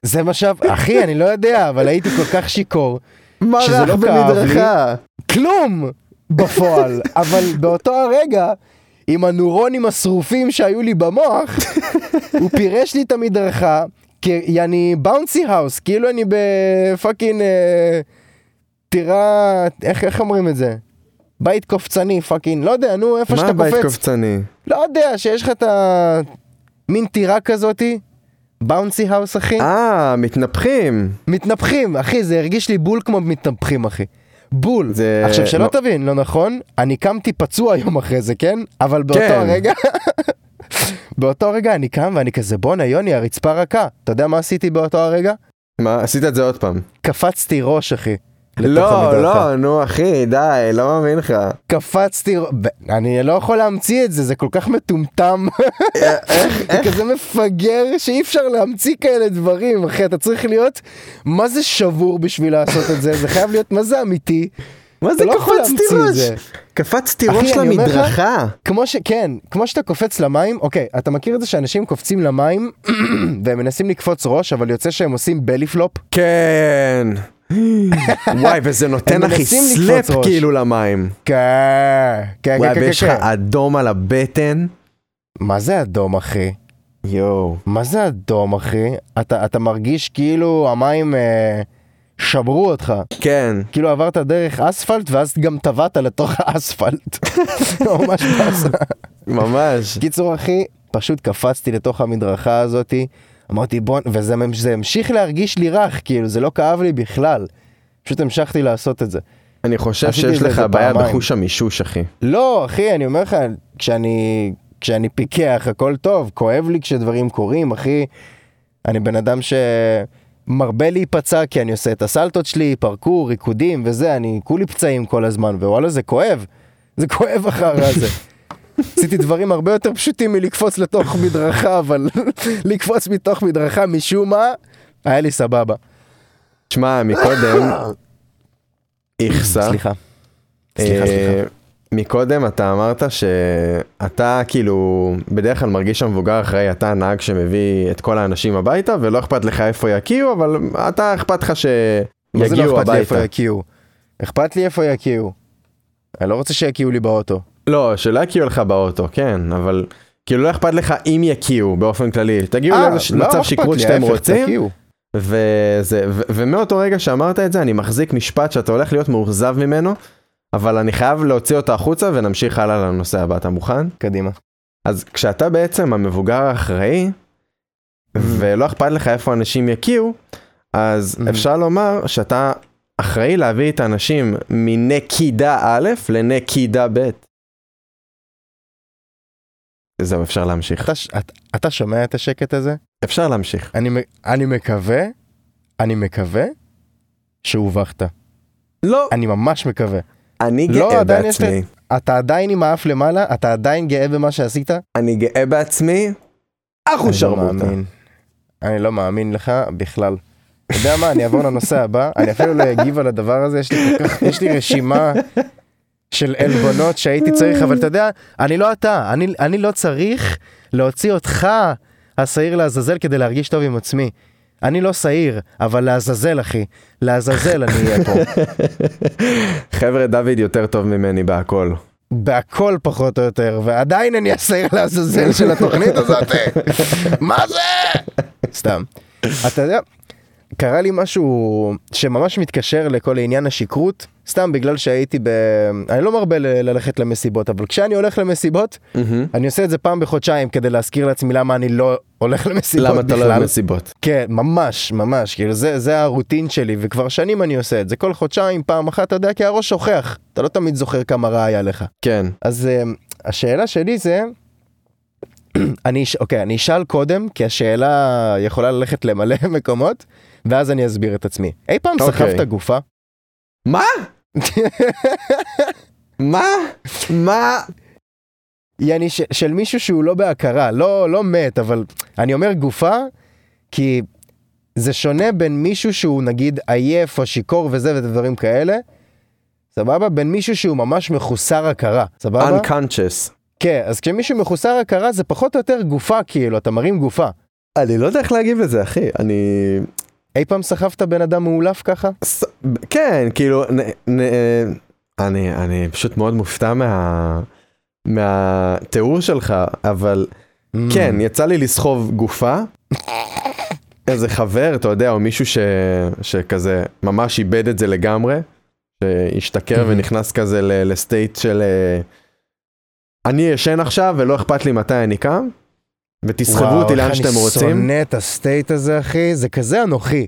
[SPEAKER 2] זה מה ש... אחי, אני לא יודע, אבל הייתי כל כך שיכור.
[SPEAKER 1] מה
[SPEAKER 2] שזה
[SPEAKER 1] רך
[SPEAKER 2] לא כאב לי.
[SPEAKER 1] במדרכה?
[SPEAKER 2] כלום בפועל, אבל באותו הרגע, עם הנוירונים השרופים שהיו לי במוח, הוא פירש לי את המדרכה, כי אני באונסי האוס, כאילו אני בפאקינג... אה, טירה... איך, איך אומרים את זה? בית קופצני, פאקינג, לא יודע, נו, איפה
[SPEAKER 1] מה
[SPEAKER 2] שאתה
[SPEAKER 1] הבית
[SPEAKER 2] קופץ.
[SPEAKER 1] קופצני?
[SPEAKER 2] לא יודע, שיש לך את ה... מין טירה כזאתי, באונסי האוס, אחי.
[SPEAKER 1] אה, מתנפחים.
[SPEAKER 2] מתנפחים, אחי, זה הרגיש לי בול כמו מתנפחים, אחי. בול.
[SPEAKER 1] זה-
[SPEAKER 2] זה... עכשיו, שלא
[SPEAKER 1] לא-
[SPEAKER 2] לא... תבין, לא נכון, אני קמתי פצוע יום אחרי זה, כן? אבל באותו
[SPEAKER 1] כן.
[SPEAKER 2] הרגע... באותו רגע אני קם ואני כזה, בואנה, יוני, הרצפה רכה. אתה יודע מה עשיתי באותו הרגע?
[SPEAKER 1] מה, עשית את זה עוד פעם.
[SPEAKER 2] קפצתי ראש, אחי. לתוך
[SPEAKER 1] לא,
[SPEAKER 2] המדרכה.
[SPEAKER 1] לא, נו אחי, די, לא מאמין לך.
[SPEAKER 2] קפצתי, ר- ב- אני לא יכול להמציא את זה, זה כל כך מטומטם.
[SPEAKER 1] אה,
[SPEAKER 2] זה כזה מפגר שאי אפשר להמציא כאלה דברים, אחי, אתה צריך להיות, מה זה שבור בשביל לעשות את זה? זה חייב להיות, מה זה אמיתי?
[SPEAKER 1] מה זה
[SPEAKER 2] אתה לא יכול
[SPEAKER 1] קפצתי
[SPEAKER 2] להמציא את
[SPEAKER 1] ראש?
[SPEAKER 2] זה.
[SPEAKER 1] קפצתי
[SPEAKER 2] אחי,
[SPEAKER 1] ראש
[SPEAKER 2] אני אומר לך-
[SPEAKER 1] למדרכה.
[SPEAKER 2] כמו ש... כן, כמו שאתה קופץ למים, אוקיי, אתה מכיר את זה שאנשים קופצים למים והם מנסים לקפוץ ראש, אבל יוצא שהם עושים בלי פלופ?
[SPEAKER 1] כן. וואי, וזה נותן
[SPEAKER 2] הם
[SPEAKER 1] אחי
[SPEAKER 2] מנסים לקפוץ
[SPEAKER 1] סלאפ
[SPEAKER 2] ראש.
[SPEAKER 1] כאילו למים.
[SPEAKER 2] כן, כן,
[SPEAKER 1] וואי,
[SPEAKER 2] כן, כן,
[SPEAKER 1] ויש לך
[SPEAKER 2] כן.
[SPEAKER 1] אדום על הבטן.
[SPEAKER 2] מה זה אדום, אחי?
[SPEAKER 1] יואו.
[SPEAKER 2] מה זה אדום, אחי? אתה, אתה מרגיש כאילו המים אה, שברו אותך.
[SPEAKER 1] כן.
[SPEAKER 2] כאילו עברת דרך אספלט, ואז גם טבעת לתוך האספלט. ממש באסה.
[SPEAKER 1] ממש.
[SPEAKER 2] קיצור, אחי, פשוט קפצתי לתוך המדרכה הזאתי. אמרתי בוא, וזה ממ- זה המשיך להרגיש לי רך, כאילו, זה לא כאב לי בכלל. פשוט המשכתי לעשות את זה.
[SPEAKER 1] אני חושב
[SPEAKER 2] עשיתי
[SPEAKER 1] שיש
[SPEAKER 2] את זה
[SPEAKER 1] לך
[SPEAKER 2] איזה
[SPEAKER 1] בעיה
[SPEAKER 2] פעמיים.
[SPEAKER 1] בחוש המישוש, אחי.
[SPEAKER 2] לא, אחי, אני אומר לך, כשאני, כשאני פיקח, הכל טוב, כואב לי כשדברים קורים, אחי. אני בן אדם שמרבה להיפצע כי אני עושה את הסלטות שלי, פרקור, ריקודים וזה, אני כולי פצעים כל הזמן, ווואלה, זה כואב. זה כואב אחר הזה. עשיתי דברים הרבה יותר פשוטים מלקפוץ לתוך מדרכה, אבל לקפוץ מתוך מדרכה משום מה, היה לי סבבה.
[SPEAKER 1] תשמע, מקודם, איכסה.
[SPEAKER 2] סליחה. אה? סליחה, סליחה.
[SPEAKER 1] אה, מקודם אתה אמרת שאתה כאילו בדרך כלל מרגיש המבוגר אחראי, אתה הנהג שמביא את כל האנשים הביתה ולא אכפת לך איפה יקיעו, אבל אתה אכפת לך
[SPEAKER 2] מה זה לא
[SPEAKER 1] שיגיעו
[SPEAKER 2] אכפת לי איפה
[SPEAKER 1] הביתה.
[SPEAKER 2] יקיעו? אכפת לי איפה יקיעו. אני לא רוצה שיקיעו לי באוטו.
[SPEAKER 1] לא, שלא יקיעו לך באוטו, כן, אבל כאילו לא אכפת לך אם יקיעו באופן כללי. תגיעו
[SPEAKER 2] אה,
[SPEAKER 1] לאיזה
[SPEAKER 2] לא
[SPEAKER 1] מצב
[SPEAKER 2] אכפת
[SPEAKER 1] שכרות
[SPEAKER 2] לי,
[SPEAKER 1] שאתם
[SPEAKER 2] ההפך,
[SPEAKER 1] רוצים,
[SPEAKER 2] תקיעו.
[SPEAKER 1] וזה, ו- ומאותו רגע שאמרת את זה, אני מחזיק משפט שאתה הולך להיות מאוכזב ממנו, אבל אני חייב להוציא אותו החוצה ונמשיך הלאה לנושא הבא, אתה מוכן?
[SPEAKER 2] קדימה.
[SPEAKER 1] אז כשאתה בעצם המבוגר האחראי, ולא אכפת לך איפה אנשים יקיעו, אז
[SPEAKER 2] Mhm.
[SPEAKER 1] אפשר לומר שאתה אחראי להביא את האנשים מנקידה א' לנקידה ב'. זהו, אפשר להמשיך.
[SPEAKER 2] אתה ש- את- אתה שומע את השקט הזה?
[SPEAKER 1] אפשר להמשיך.
[SPEAKER 2] אני מ- אני מקווה, אני מקווה שהובכת.
[SPEAKER 1] לא,
[SPEAKER 2] אני ממש מקווה.
[SPEAKER 1] אני
[SPEAKER 2] לא,
[SPEAKER 1] גאה
[SPEAKER 2] עדיין יש לי-
[SPEAKER 1] בעצמי.
[SPEAKER 2] אתה עדיין עם האף למעלה? אתה עדיין גאה במה שעשית?
[SPEAKER 1] אני גאה בעצמי. אחו
[SPEAKER 2] אני לא
[SPEAKER 1] שרמוטה.
[SPEAKER 2] מאמין. אני לא מאמין לך בכלל. אתה יודע מה, אני אעבור לנושא הבא, אני אפילו לא אגיב על הדבר הזה, יש לי, כל כך, יש לי רשימה של עלבונות שהייתי צריך, אבל אתה יודע, אני לא אתה, אני, אני לא צריך להוציא אותך, השעיר לעזאזל, כדי להרגיש טוב עם עצמי. אני לא שעיר, אבל לעזאזל, אחי. לעזאזל אני אהיה פה.
[SPEAKER 1] חבר'ה, דוד יותר טוב ממני בהכל.
[SPEAKER 2] בהכל פחות או יותר, ועדיין אני השעיר לעזאזל של התוכנית הזאת. מה זה? סתם. אתה יודע, קרה לי משהו שממש מתקשר לכל עניין השכרות, סתם בגלל שהייתי ב... אני לא מרבה ל- ללכת למסיבות, אבל כשאני הולך למסיבות, אני עושה את זה פעם בחודשיים כדי להזכיר לעצמי למה אני לא הולך למסיבות
[SPEAKER 1] למה אתה לא
[SPEAKER 2] בכלל.
[SPEAKER 1] אוהב מסיבות?
[SPEAKER 2] כן, ממש, ממש, כאילו זה, זה הרוטין שלי, וכבר שנים אני עושה את זה, כל חודשיים, פעם אחת, אתה יודע, כי הראש שוכח, אתה לא תמיד זוכר כמה רע היה לך.
[SPEAKER 1] כן.
[SPEAKER 2] אז אמ, השאלה שלי זה, אני, אש- אוקיי, אני אשאל קודם, כי השאלה יכולה ללכת למלא מקומות, ואז אני אסביר את עצמי. אי פעם
[SPEAKER 1] אוקיי.
[SPEAKER 2] סחבת גופה?
[SPEAKER 1] מה? מה? מה?
[SPEAKER 2] יעני ש- של מישהו שהוא לא בהכרה, לא, לא מת, אבל אני אומר גופה, כי זה שונה בין מישהו שהוא נגיד עייף או שיכור וזה ודברים כאלה, סבבה? בין מישהו שהוא ממש מחוסר הכרה, סבבה?
[SPEAKER 1] unconscious.
[SPEAKER 2] כן, אז כשמישהו מחוסר הכרה זה פחות או יותר גופה כאילו, אתה מרים גופה.
[SPEAKER 1] אני לא יודע איך להגיב לזה, אחי. אני...
[SPEAKER 2] אי פעם סחבת בן אדם מאולף ככה?
[SPEAKER 1] ס- ב- כן, כאילו, נ, נ, אה, אני, אני פשוט מאוד מופתע מה, מהתיאור שלך, אבל
[SPEAKER 2] Mm.
[SPEAKER 1] כן, יצא לי לסחוב גופה. איזה חבר, אתה יודע, או מישהו ש, שכזה ממש איבד את זה לגמרי, שהשתכר
[SPEAKER 2] Mhm.
[SPEAKER 1] ונכנס כזה ל, לסטייט של אה, אני ישן עכשיו ולא אכפת לי מתי אני קם, ותסחבו אותי לאן שאתם
[SPEAKER 2] וואו, איך
[SPEAKER 1] רוצים.
[SPEAKER 2] אני שונא את הסטייט הזה, אחי, זה כזה אנוכי,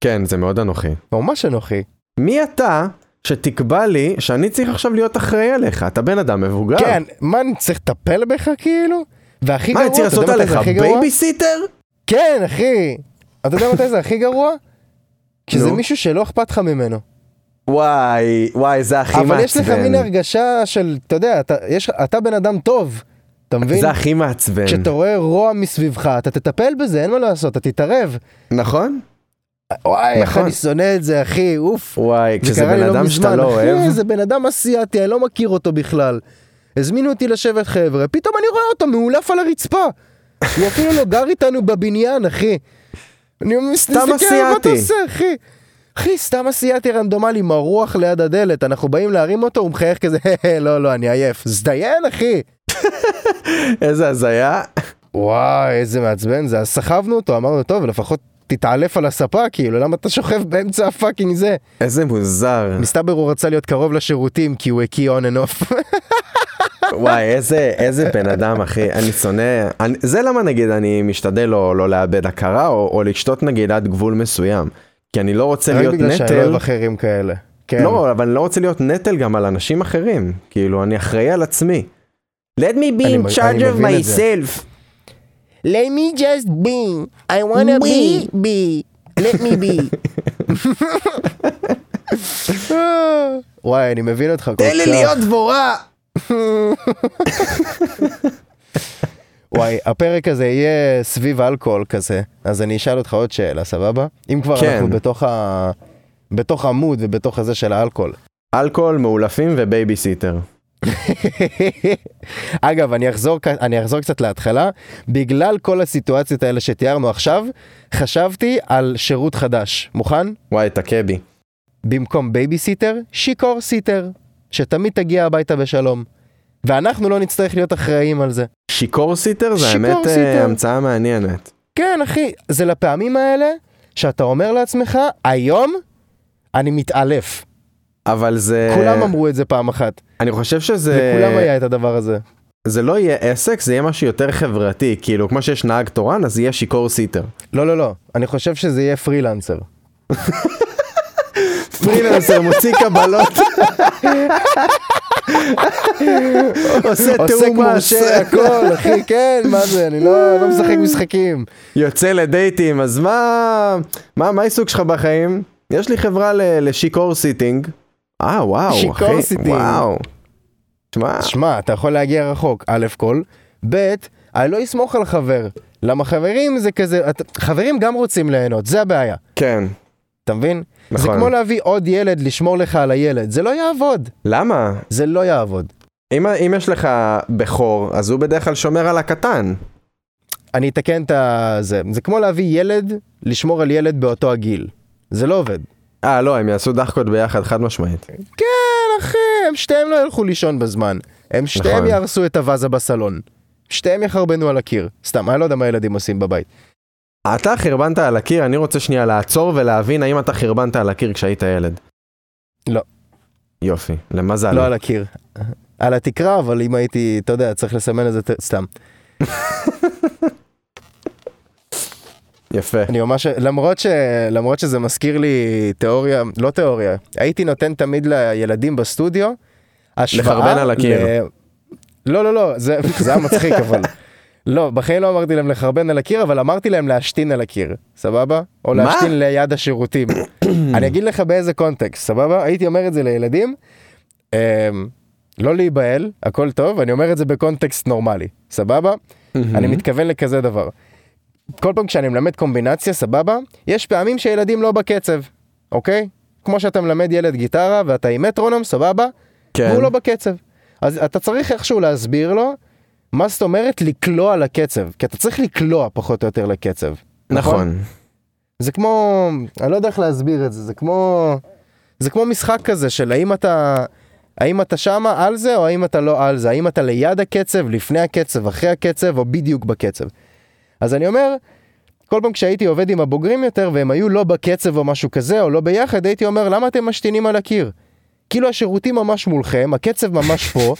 [SPEAKER 1] כן, זה מאוד אנוכי.
[SPEAKER 2] ממש אנוכי.
[SPEAKER 1] מי אתה שתקבע לי שאני צריך עכשיו להיות אחראי עליך? אתה בן אדם מבוגר.
[SPEAKER 2] כן, מה, אני צריך לטפל בך כאילו? והכי
[SPEAKER 1] מה,
[SPEAKER 2] גרוע,
[SPEAKER 1] אני צריך
[SPEAKER 2] אתה
[SPEAKER 1] לעשות
[SPEAKER 2] יודע מתי
[SPEAKER 1] עליך
[SPEAKER 2] זה הכי גרוע?
[SPEAKER 1] בייביסיטר?
[SPEAKER 2] כן, אחי. אתה יודע מתי זה הכי גרוע? כשזה
[SPEAKER 1] נו.
[SPEAKER 2] מישהו שלא אכפת לך ממנו.
[SPEAKER 1] וואי, וואי, זה הכי מעצבן.
[SPEAKER 2] אבל יש לך מין הרגשה של, אתה יודע, אתה- יש- אתה בן אדם טוב, אתה מבין?
[SPEAKER 1] זה הכי מעצבן.
[SPEAKER 2] כשאתה רואה רוע מסביבך, אתה תטפל בזה, אין מה לעשות, אתה תתערב.
[SPEAKER 1] נכון?
[SPEAKER 2] וואי, איך
[SPEAKER 1] נכון.
[SPEAKER 2] אני שונא את זה, אחי, אוף.
[SPEAKER 1] וואי,
[SPEAKER 2] זה
[SPEAKER 1] כשזה
[SPEAKER 2] קרה לי
[SPEAKER 1] בן אדם שאתה לא אוהב,
[SPEAKER 2] אחי, זה בן אדם אסיאתי, אני לא מכיר אותו בכלל. הזמינו אותי לשבת חבר'ה, פתאום אני רואה אותו מאולף על הרצפה. הוא אפילו לא גר איתנו בבניין, אחי. אני מסתכל, מה אתה
[SPEAKER 1] אסיאתי."
[SPEAKER 2] עושה, אחי? אחי, סתם אסיאתי רנדומלי, מרוח ליד הדלת, אנחנו באים להרים אותו, הוא מחייך כזה, לא, לא, אני עייף. זדיין, אחי.
[SPEAKER 1] איזה הזיה.
[SPEAKER 2] וואי, איזה מעצבן זה. אז סחבנו אותו, אמרנו, טוב, לפחות תתעלף על הספה, כאילו, למה אתה שוכב באמצע הפאקינג זה?
[SPEAKER 1] איזה מוזר.
[SPEAKER 2] מסתבר הוא רצה להיות קרוב לשירותים כי הוא הקיא און אנד אוף.
[SPEAKER 1] וואי, איזה, איזה בן אדם, אחי. אני שונא... אני, זה למה, נגיד, אני משתדל לא, לא לאבד הכרה, או, או לשתות, נגיד, עד גבול מסוים. כי אני לא רוצה
[SPEAKER 2] רק
[SPEAKER 1] להיות
[SPEAKER 2] בגלל שאני
[SPEAKER 1] נטל.
[SPEAKER 2] אוהב אחרים כאלה. כן.
[SPEAKER 1] לא, אבל אני לא רוצה להיות נטל גם על אנשים אחרים. כאילו, אני אחראי על עצמי. Let me be
[SPEAKER 2] אני מ-
[SPEAKER 1] in charge
[SPEAKER 2] אני
[SPEAKER 1] of
[SPEAKER 2] מבין את זה.
[SPEAKER 1] myself.
[SPEAKER 2] Let me just be, I wanna be, be, let me be. וואי, אני מבין אותך כל כך.
[SPEAKER 1] תן לי להיות דבורה.
[SPEAKER 2] וואי, הפרק הזה יהיה סביב אלכוהול כזה, אז אני אשאל אותך עוד שאלה, סבבה? אם כבר
[SPEAKER 1] כן.
[SPEAKER 2] אנחנו בתוך ה... בתוך עמוד ובתוך הזה של האלכוהול.
[SPEAKER 1] אלכוהול, מאולפים ובייביסיטר.
[SPEAKER 2] אגב, אני אחזור, כ- אני אחזור קצת להתחלה. בגלל כל הסיטואציות האלה שתיארנו עכשיו, חשבתי על שירות חדש. מוכן?
[SPEAKER 1] וואי, את הקבי.
[SPEAKER 2] במקום בייביסיטר, שיכור סיטר, שתמיד תגיע הביתה בשלום. ואנחנו לא נצטרך להיות אחראים על זה.
[SPEAKER 1] שיכור סיטר זה
[SPEAKER 2] שיכור
[SPEAKER 1] האמת אה,
[SPEAKER 2] סיטר.
[SPEAKER 1] המצאה מעניינת.
[SPEAKER 2] כן, אחי, זה לפעמים האלה שאתה אומר לעצמך, היום אני מתעלף.
[SPEAKER 1] אבל זה...
[SPEAKER 2] כולם אמרו את זה פעם אחת,
[SPEAKER 1] אני חושב שזה...
[SPEAKER 2] לכולם היה את הדבר הזה.
[SPEAKER 1] זה לא יהיה עסק, זה יהיה משהו יותר חברתי. כאילו, כמו שיש נהג תורן, אז יהיה שיכור סיטר.
[SPEAKER 2] לא, לא, לא, אני חושב שזה יהיה פרילנסר.
[SPEAKER 1] פרילנסר מוציא קבלות. עושה
[SPEAKER 2] עוסק
[SPEAKER 1] תיאום מס.
[SPEAKER 2] מורשה, הכל, אחי, כן, מה זה, אני לא לא משחק משחקים.
[SPEAKER 1] יוצא לדייטים, אז מה... מה, מה העיסוק שלך בחיים? יש לי חברה ל- לשיכור סיטינג. אה, וואו, אחי.
[SPEAKER 2] שיכור סיטינג.
[SPEAKER 1] וואו. שמע,
[SPEAKER 2] שמע, אתה יכול להגיע רחוק, א' כל, ב', אני לא אסמוך על חבר. למה חברים זה כזה, את- חברים גם רוצים ליהנות, זה הבעיה,
[SPEAKER 1] כן.
[SPEAKER 2] אתה מבין? זה
[SPEAKER 1] נכון.
[SPEAKER 2] כמו להביא עוד ילד, לשמור לך על הילד, זה לא יעבוד,
[SPEAKER 1] למה?
[SPEAKER 2] זה לא יעבוד.
[SPEAKER 1] אם, אם יש לך בכור, אז הוא בדרך כלל שומר על הקטן.
[SPEAKER 2] אני אתקן את זה. זה כמו להביא ילד, לשמור על ילד באותו הגיל. זה לא עובד.
[SPEAKER 1] אה, לא, הם יעשו דחקות ביחד, חד משמעית.
[SPEAKER 2] כן, אחי, הם שתיהם לא ילכו לישון בזמן. הם שתיהם
[SPEAKER 1] נכון.
[SPEAKER 2] יהרסו את הוואזה בסלון. שתיהם יחרבנו על הקיר. סתם, אני לא יודע מה ילדים עושים בבית.
[SPEAKER 1] אתה חרבנת על הקיר, אני רוצה שנייה לעצור ולהבין האם אתה חרבנת על הקיר כשהיית ילד.
[SPEAKER 2] לא.
[SPEAKER 1] יופי, למזל.
[SPEAKER 2] לא על הקיר. על התקרה, אבל אם הייתי, אתה יודע, צריך לסמן את זה, ת- סתם.
[SPEAKER 1] יפה.
[SPEAKER 2] אני ממש, למרות, ש, למרות שזה מזכיר לי תיאוריה, לא תיאוריה, הייתי נותן תמיד לילדים בסטודיו, השוואה...
[SPEAKER 1] לחרבן על הקיר.
[SPEAKER 2] ל... לא, לא, לא, זה, זה היה מצחיק אבל. לא, בחיים לא אמרתי להם לחרבן על הקיר, אבל אמרתי להם להשתין על הקיר, סבבה? או
[SPEAKER 1] מה?
[SPEAKER 2] להשתין ליד השירותים. אני אגיד לך באיזה קונטקסט, סבבה? הייתי אומר את זה לילדים, אמ, לא להיבהל, הכל טוב, אני אומר את זה בקונטקסט נורמלי, סבבה? אני מתכוון לכזה דבר. כל פעם כשאני מלמד קומבינציה, סבבה? יש פעמים שילדים לא בקצב, אוקיי? כמו שאתה מלמד ילד גיטרה ואתה עם מטרונום, סבבה?
[SPEAKER 1] כן.
[SPEAKER 2] והוא לא בקצב. אז אתה צריך איכשהו להסביר לו מה זאת אומרת לקלוע לקצב, כי אתה צריך לקלוע פחות או יותר לקצב.
[SPEAKER 1] נכון.
[SPEAKER 2] זה כמו, אני לא יודע איך להסביר את זה, זה כמו, זה כמו משחק כזה של האם אתה, האם אתה שמה על זה או האם אתה לא על זה, האם אתה ליד הקצב, לפני הקצב, אחרי הקצב או בדיוק בקצב. אז אני אומר, כל פעם כשהייתי עובד עם הבוגרים יותר והם היו לא בקצב או משהו כזה או לא ביחד, הייתי אומר למה אתם משתינים על הקיר? כאילו השירותים ממש מולכם, הקצב ממש פה,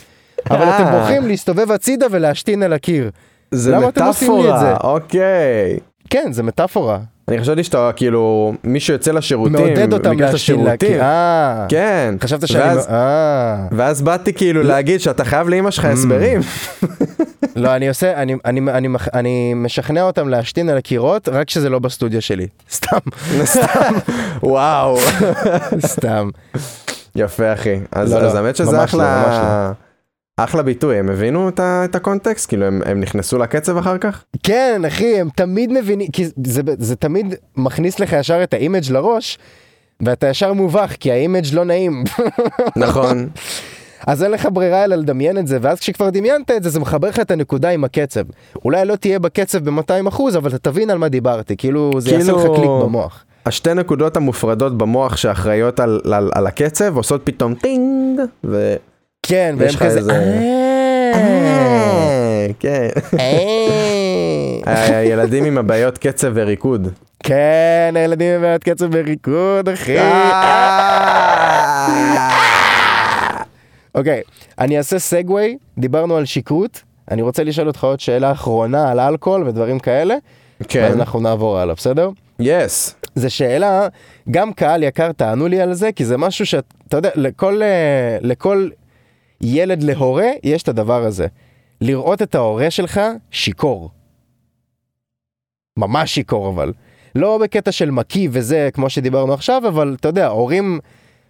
[SPEAKER 2] אבל אתם
[SPEAKER 1] אה.
[SPEAKER 2] בוחרים להסתובב הצידה ולהשתין על הקיר.
[SPEAKER 1] זה
[SPEAKER 2] למה אתם עושים לי את
[SPEAKER 1] מטאפורה,
[SPEAKER 2] זה?
[SPEAKER 1] אוקיי.
[SPEAKER 2] כן, זה מטאפורה.
[SPEAKER 1] אני חשבתי שאתה כאילו, מי שיוצא לשירותים,
[SPEAKER 2] מעודד אותם
[SPEAKER 1] בגלל
[SPEAKER 2] להשתין
[SPEAKER 1] השירותים.
[SPEAKER 2] להקיא. אה,
[SPEAKER 1] כן.
[SPEAKER 2] חשבת שאני...
[SPEAKER 1] ואז-
[SPEAKER 2] מ- Mm. אה.
[SPEAKER 1] ואז באתי כאילו להגיד שאתה חייב לאמא שלך הסברים.
[SPEAKER 2] לא, אני עושה, אני- אני- אני מח- אני משכנע אותם להשתין על הקירות, רק שזה לא בסטודיו שלי. סתם,
[SPEAKER 1] סתם. וואו.
[SPEAKER 2] סתם.
[SPEAKER 1] יפה אחי. אז
[SPEAKER 2] לא, לא,
[SPEAKER 1] אז האמת שזה
[SPEAKER 2] ממש לא, ממש לא.
[SPEAKER 1] אחלה... אחלה ביטוי, הם הבינו את ה- את הקונטקסט? כאילו הם הם נכנסו לקצב אחר כך?
[SPEAKER 2] כן, אחי, הם תמיד מבינים, כי זה- זה תמיד מכניס לך ישר את האימג' לראש, ואתה ישר מובך, כי האימג' לא נעים.
[SPEAKER 1] נכון.
[SPEAKER 2] אז אין לך ברירה אלא לדמיין את זה, ואז כשכבר דמיינת את זה, זה מחבר לך את הנקודה עם הקצב. אולי לא תהיה בקצב ב-200 אחוז, אבל אתה תבין על מה דיברתי, כאילו זה יעשה
[SPEAKER 1] כאילו-
[SPEAKER 2] לך קליק במוח.
[SPEAKER 1] השתי נקודות המופרדות במוח שאחראיות על, על, על הקצב עושות פתאום טינג ו...
[SPEAKER 2] כן, והם
[SPEAKER 1] ויש לך
[SPEAKER 2] כזה...
[SPEAKER 1] איזה-
[SPEAKER 2] "אה,
[SPEAKER 1] כן.
[SPEAKER 2] אה."
[SPEAKER 1] הילדים עם הבעיות קצב וריקוד.
[SPEAKER 2] כן, הילדים עם בעיות קצב בריקוד, אחי.
[SPEAKER 1] אה.
[SPEAKER 2] אוקיי, אני אעשה סגווי, דיברנו על שכרות, אני רוצה לשאול אותך עוד שאלה אחרונה על אלכוהול ודברים כאלה,
[SPEAKER 1] כן.
[SPEAKER 2] ואז אנחנו נעבור הלאה, בסדר?
[SPEAKER 1] יס.
[SPEAKER 2] זו שאלה, גם קהל יקר תענו לי על זה, כי זה משהו שאתה יודע, לכל, אה, לכל ילד להורה יש את הדבר הזה. לראות את ההורה שלך שיכור. ממש שיכור אבל. לא בקטע של מקיא וזה, כמו שדיברנו עכשיו, אבל אתה יודע, הורים,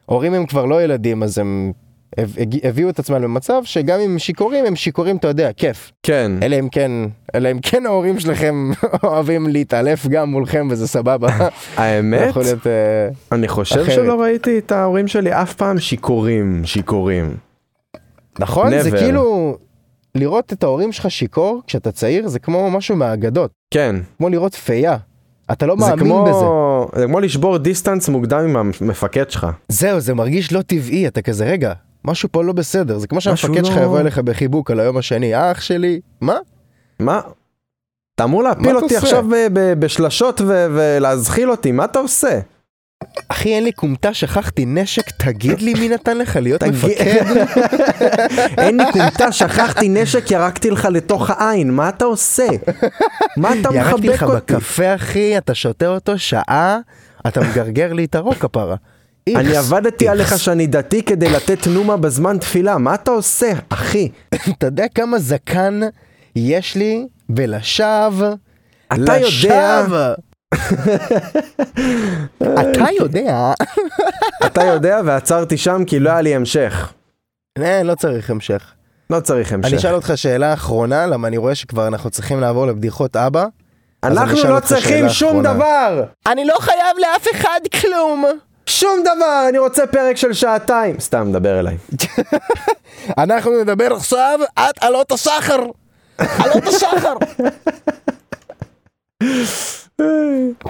[SPEAKER 2] הורים הם כבר לא ילדים, אז הם הב- הג- הביאו את עצמם למצב שגם אם הם שיכורים, הם שיכורים, אתה יודע, כיף.
[SPEAKER 1] כן.
[SPEAKER 2] אלא אם כן, אלא אם כן ההורים שלכם אוהבים להתעלף גם מולכם וזה סבבה.
[SPEAKER 1] האמת,
[SPEAKER 2] יכול להיות... אה,
[SPEAKER 1] אני חושב
[SPEAKER 2] אחרת.
[SPEAKER 1] שלא ראיתי את ההורים שלי אף פעם שיכורים, שיכורים.
[SPEAKER 2] נכון? זה
[SPEAKER 1] never.
[SPEAKER 2] כאילו... לראות את ההורים שלך שיכור כשאתה צעיר זה כמו משהו מהאגדות,
[SPEAKER 1] כן.
[SPEAKER 2] כמו לראות פייה. אתה לא
[SPEAKER 1] זה
[SPEAKER 2] מאמין
[SPEAKER 1] כמו...
[SPEAKER 2] בזה.
[SPEAKER 1] זה כמו לשבור דיסטנס מוקדם עם המפקד שלך.
[SPEAKER 2] זהו, זה מרגיש לא טבעי, אתה כזה, רגע, משהו פה לא בסדר. זה כמו
[SPEAKER 1] משהו
[SPEAKER 2] שהמפקד שלך
[SPEAKER 1] לא-
[SPEAKER 2] יבוא אליך בחיבוק על היום השני, אח שלי, מה?
[SPEAKER 1] מה? אתה אמור
[SPEAKER 2] מה
[SPEAKER 1] להפיל
[SPEAKER 2] אתה
[SPEAKER 1] אותי
[SPEAKER 2] עושה?
[SPEAKER 1] עכשיו ב- ב- בשלשות ו- ולהזחיל אותי, מה אתה עושה?
[SPEAKER 2] אחי, אין לי כומתה, שכחתי נשק, תגיד לי מי נתן לך להיות מפקד?
[SPEAKER 1] אין לי כומתה, שכחתי נשק, ירקתי לך לתוך העין, מה אתה עושה? מה אתה
[SPEAKER 2] ירקתי
[SPEAKER 1] מחבק
[SPEAKER 2] לך
[SPEAKER 1] אותי?
[SPEAKER 2] בקפה, אחי, אתה שותה אותו שעה, אתה מגרגר לי את הרוק, הפרה.
[SPEAKER 1] אני
[SPEAKER 2] איכס,
[SPEAKER 1] עבדתי עליך
[SPEAKER 2] איכס.
[SPEAKER 1] שאני דתי כדי לתת נומה בזמן תפילה, מה אתה עושה, אחי?
[SPEAKER 2] אתה יודע כמה זקן יש לי בלשווא?
[SPEAKER 1] אתה יודע,
[SPEAKER 2] אתה יודע.
[SPEAKER 1] אתה יודע ועצרתי שם כי לא היה לי המשך.
[SPEAKER 2] אה, לא צריך המשך.
[SPEAKER 1] לא צריך
[SPEAKER 2] אני
[SPEAKER 1] המשך.
[SPEAKER 2] אשאל אותך שאלה אחרונה, למה אני רואה שכבר אנחנו צריכים לעבור לבדיחות אבא. אז אני
[SPEAKER 1] אנחנו
[SPEAKER 2] אשאל
[SPEAKER 1] לא
[SPEAKER 2] אותך
[SPEAKER 1] צריכים
[SPEAKER 2] שאלה
[SPEAKER 1] שום
[SPEAKER 2] אחרונה.
[SPEAKER 1] דבר!
[SPEAKER 2] אני לא חייב לאף אחד כלום.
[SPEAKER 1] שום דבר! אני רוצה פרק של שעתיים! סתם, דבר אליי.
[SPEAKER 2] אנחנו נדבר עכשיו עד עלות הסחר. עלות הסחר.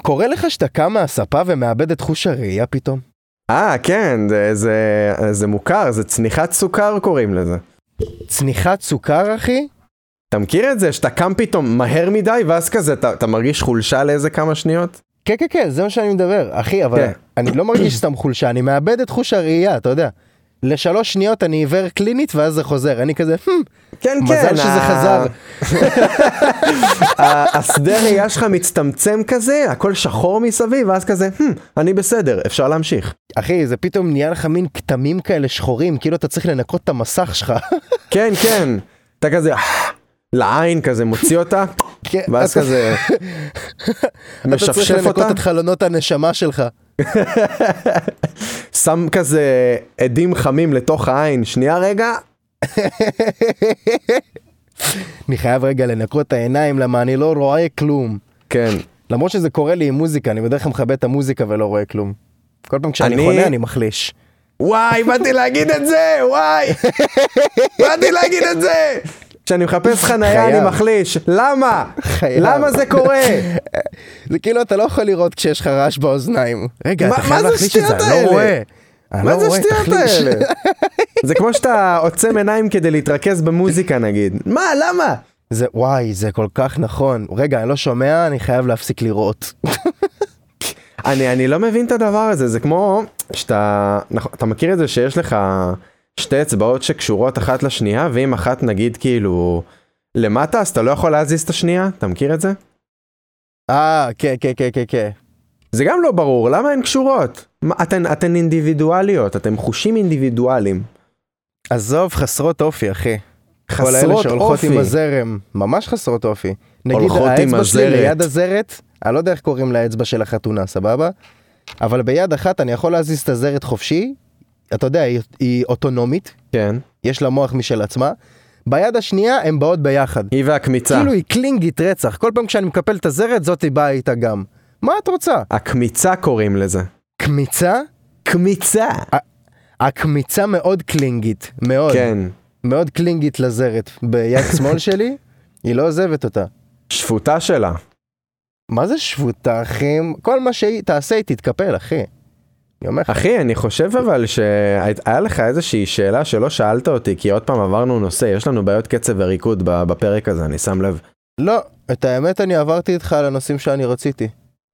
[SPEAKER 2] קורה לך שאתה קם מהספה ומאבד את חוש הראייה פתאום?
[SPEAKER 1] אה, כן, זה, זה, זה מוכר, זה צניחת סוכר קוראים לזה.
[SPEAKER 2] צניחת סוכר, אחי?
[SPEAKER 1] אתה מכיר את זה? שאתה קם פתאום מהר מדי, ואז כזה אתה, אתה מרגיש חולשה לאיזה כמה שניות?
[SPEAKER 2] כן, כן, כן, זה מה שאני מדבר. אחי, אבל
[SPEAKER 1] כן.
[SPEAKER 2] אני לא מרגיש סתם חולשה, אני מאבד את חוש הראייה, אתה יודע. לשלוש שניות אני עיוור קלינית ואז זה חוזר, אני כזה, "Hmm." "הם,
[SPEAKER 1] כן, כן.
[SPEAKER 2] מזל שזה
[SPEAKER 1] ה-
[SPEAKER 2] חזר.
[SPEAKER 1] ה- השדה ראייה שלך מצטמצם כזה, הכל שחור מסביב, ואז כזה, "Hmm, אני בסדר, אפשר להמשיך.
[SPEAKER 2] אחי, זה פתאום נהיה לך מין כתמים כאלה שחורים, כאילו אתה צריך לנקות את המסך שלך.
[SPEAKER 1] כן, כן. אתה כזה, "אה, לעין כזה, מוציא אותה,
[SPEAKER 2] כן,
[SPEAKER 1] ואז
[SPEAKER 2] אתה-
[SPEAKER 1] כזה,
[SPEAKER 2] אתה צריך
[SPEAKER 1] משפשף
[SPEAKER 2] לנקות
[SPEAKER 1] אותה,
[SPEAKER 2] את חלונות הנשמה שלך.
[SPEAKER 1] שם כזה עדים חמים לתוך העין, שנייה רגע,
[SPEAKER 2] אני חייב רגע לנקות את העיניים, למה אני לא רואה כלום.
[SPEAKER 1] כן.
[SPEAKER 2] למרות שזה קורה לי עם מוזיקה, אני בדרך כלל מכבה את המוזיקה ולא רואה כלום. כל פעם כשאני
[SPEAKER 1] אני-
[SPEAKER 2] חונה אני מחליש.
[SPEAKER 1] וואי, באתי להגיד את זה, וואי, באתי להגיד את זה. כשאני מחפש חנייה
[SPEAKER 2] חייב.
[SPEAKER 1] אני מחליש, למה?
[SPEAKER 2] חייב.
[SPEAKER 1] למה זה קורה?
[SPEAKER 2] זה כאילו אתה לא יכול לראות כשיש לך רעש באוזניים. רגע,
[SPEAKER 1] מה-
[SPEAKER 2] אתה
[SPEAKER 1] מה
[SPEAKER 2] חייב
[SPEAKER 1] זה
[SPEAKER 2] להחליש את זה,
[SPEAKER 1] השטויות
[SPEAKER 2] אני לא
[SPEAKER 1] האלה?
[SPEAKER 2] רואה. אני
[SPEAKER 1] מה
[SPEAKER 2] לא
[SPEAKER 1] זה
[SPEAKER 2] רואה,
[SPEAKER 1] השטויות
[SPEAKER 2] תחליש.
[SPEAKER 1] האלה? זה כמו שאתה עוצם עיניים כדי להתרכז במוזיקה נגיד. מה, למה?
[SPEAKER 2] זה וואי, זה כל כך נכון. רגע, אני לא שומע, אני חייב להפסיק לראות.
[SPEAKER 1] אני, אני לא מבין את הדבר הזה, זה כמו שאתה, נכון, אתה מכיר את זה שיש לך שתי אצבעות שקשורות אחת לשנייה, ואם אחת נגיד כאילו למטה, אז אתה לא יכול להזיז את השנייה? אתה מכיר את זה?
[SPEAKER 2] אה, כן, כן, כן, כן, כן.
[SPEAKER 1] זה גם לא ברור, למה הן קשורות? מה, אתן, אתן אינדיבידואליות, אתם חושים אינדיבידואליים.
[SPEAKER 2] עזוב, חסרות אופי, אחי. כל אלה
[SPEAKER 1] חסרות
[SPEAKER 2] שהולכות עם
[SPEAKER 1] אופי.
[SPEAKER 2] הזרם, ממש חסרות אופי. נגיד
[SPEAKER 1] הולכות עם
[SPEAKER 2] האצבע שלי
[SPEAKER 1] הזרת.
[SPEAKER 2] ליד הזרת, אני לא יודע איך קוראים לאצבע של החתונה, סבבה? אבל ביד אחת אני יכול להזיז את הזרת חופשי, אתה יודע, היא, היא אוטונומית,
[SPEAKER 1] כן.
[SPEAKER 2] יש לה מוח משל עצמה, ביד השנייה הן באות ביחד.
[SPEAKER 1] היא והקמיצה.
[SPEAKER 2] כאילו היא קלינגית רצח, כל פעם כשאני מקפל את הזרת, זאתי באה איתה גם. מה את רוצה?
[SPEAKER 1] הקמיצה קוראים לזה.
[SPEAKER 2] קמיצה?
[SPEAKER 1] קמיצה.
[SPEAKER 2] הקמיצה מאוד קלינגית, מאוד.
[SPEAKER 1] כן.
[SPEAKER 2] מאוד קלינגית לזרת. ביד שמאל שלי, היא לא עוזבת אותה.
[SPEAKER 1] שפוטה שלה.
[SPEAKER 2] מה זה שפוטה, אחי? כל מה שהיא תעשה, היא תתקפל, אחי. אני אומר לך,
[SPEAKER 1] אחי, אני חושב אבל שהיה לך איזושהי שאלה שלא שאלת אותי, כי עוד פעם עברנו נושא, יש לנו בעיות קצב וריקוד ב- בפרק הזה, אני שם לב.
[SPEAKER 2] לא, את האמת אני עברתי איתך על הנושאים שאני רציתי.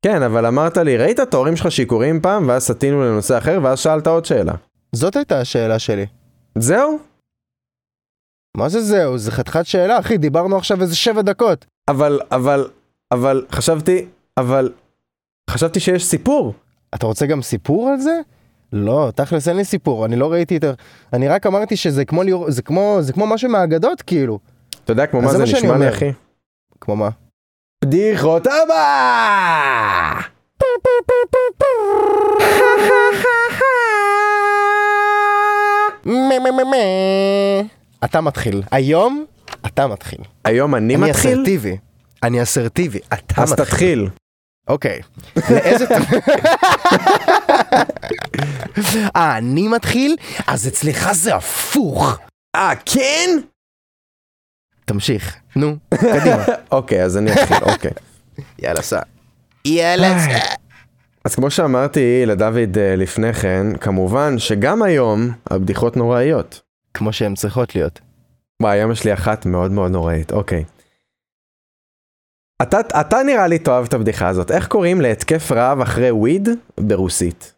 [SPEAKER 1] כן, אבל אמרת לי, ראית את ההורים שלך שיכורים פעם, ואז סטינו לנושא אחר, ואז שאלת עוד שאלה.
[SPEAKER 2] זאת הייתה השאלה שלי.
[SPEAKER 1] זהו?
[SPEAKER 2] מה זה זהו? זה חתיכת שאלה, אחי, דיברנו עכשיו איזה שבע דקות.
[SPEAKER 1] אבל, אבל, אבל, חשבתי, אבל, חשבתי שיש סיפור.
[SPEAKER 2] אתה רוצה גם סיפור על זה? לא, תכלס אין לי סיפור, אני לא ראיתי את ה... אני רק אמרתי שזה כמו ליאור... זה כמו... זה כמו משהו מהאגדות, כאילו.
[SPEAKER 1] אתה יודע כמו
[SPEAKER 2] אז
[SPEAKER 1] מה
[SPEAKER 2] זה
[SPEAKER 1] זה
[SPEAKER 2] מה שאני
[SPEAKER 1] נשמע לי,
[SPEAKER 2] אומר.
[SPEAKER 1] אחי?
[SPEAKER 2] כמו מה?
[SPEAKER 1] בדיחות הבא!
[SPEAKER 2] מה, מה, מה, מה. אתה מתחיל. היום, אתה מתחיל.
[SPEAKER 1] היום אני
[SPEAKER 2] אני
[SPEAKER 1] מתחיל?
[SPEAKER 2] אסרטיבי. אני אסרטיבי, אתה
[SPEAKER 1] אז
[SPEAKER 2] מתחיל.
[SPEAKER 1] תתחיל.
[SPEAKER 2] אוקיי. לאיזה... אה, אני מתחיל? אז אצלך זה הפוך.
[SPEAKER 1] אה, כן?
[SPEAKER 2] תמשיך. נו, קדימה.
[SPEAKER 1] אוקיי, אז אני אתחיל, אוקיי.
[SPEAKER 2] יאללה, סע. יאללה, סע.
[SPEAKER 1] אז כמו שאמרתי לדוד אה, לפני כן, כמובן שגם היום הבדיחות נוראיות.
[SPEAKER 2] כמו שהן צריכות להיות.
[SPEAKER 1] וואי, היום יש לי אחת מאוד מאוד נוראית, אוקיי. אתה, אתה נראה לי תאהב את הבדיחה הזאת. איך קוראים להתקף רעב אחרי וויד ברוסית?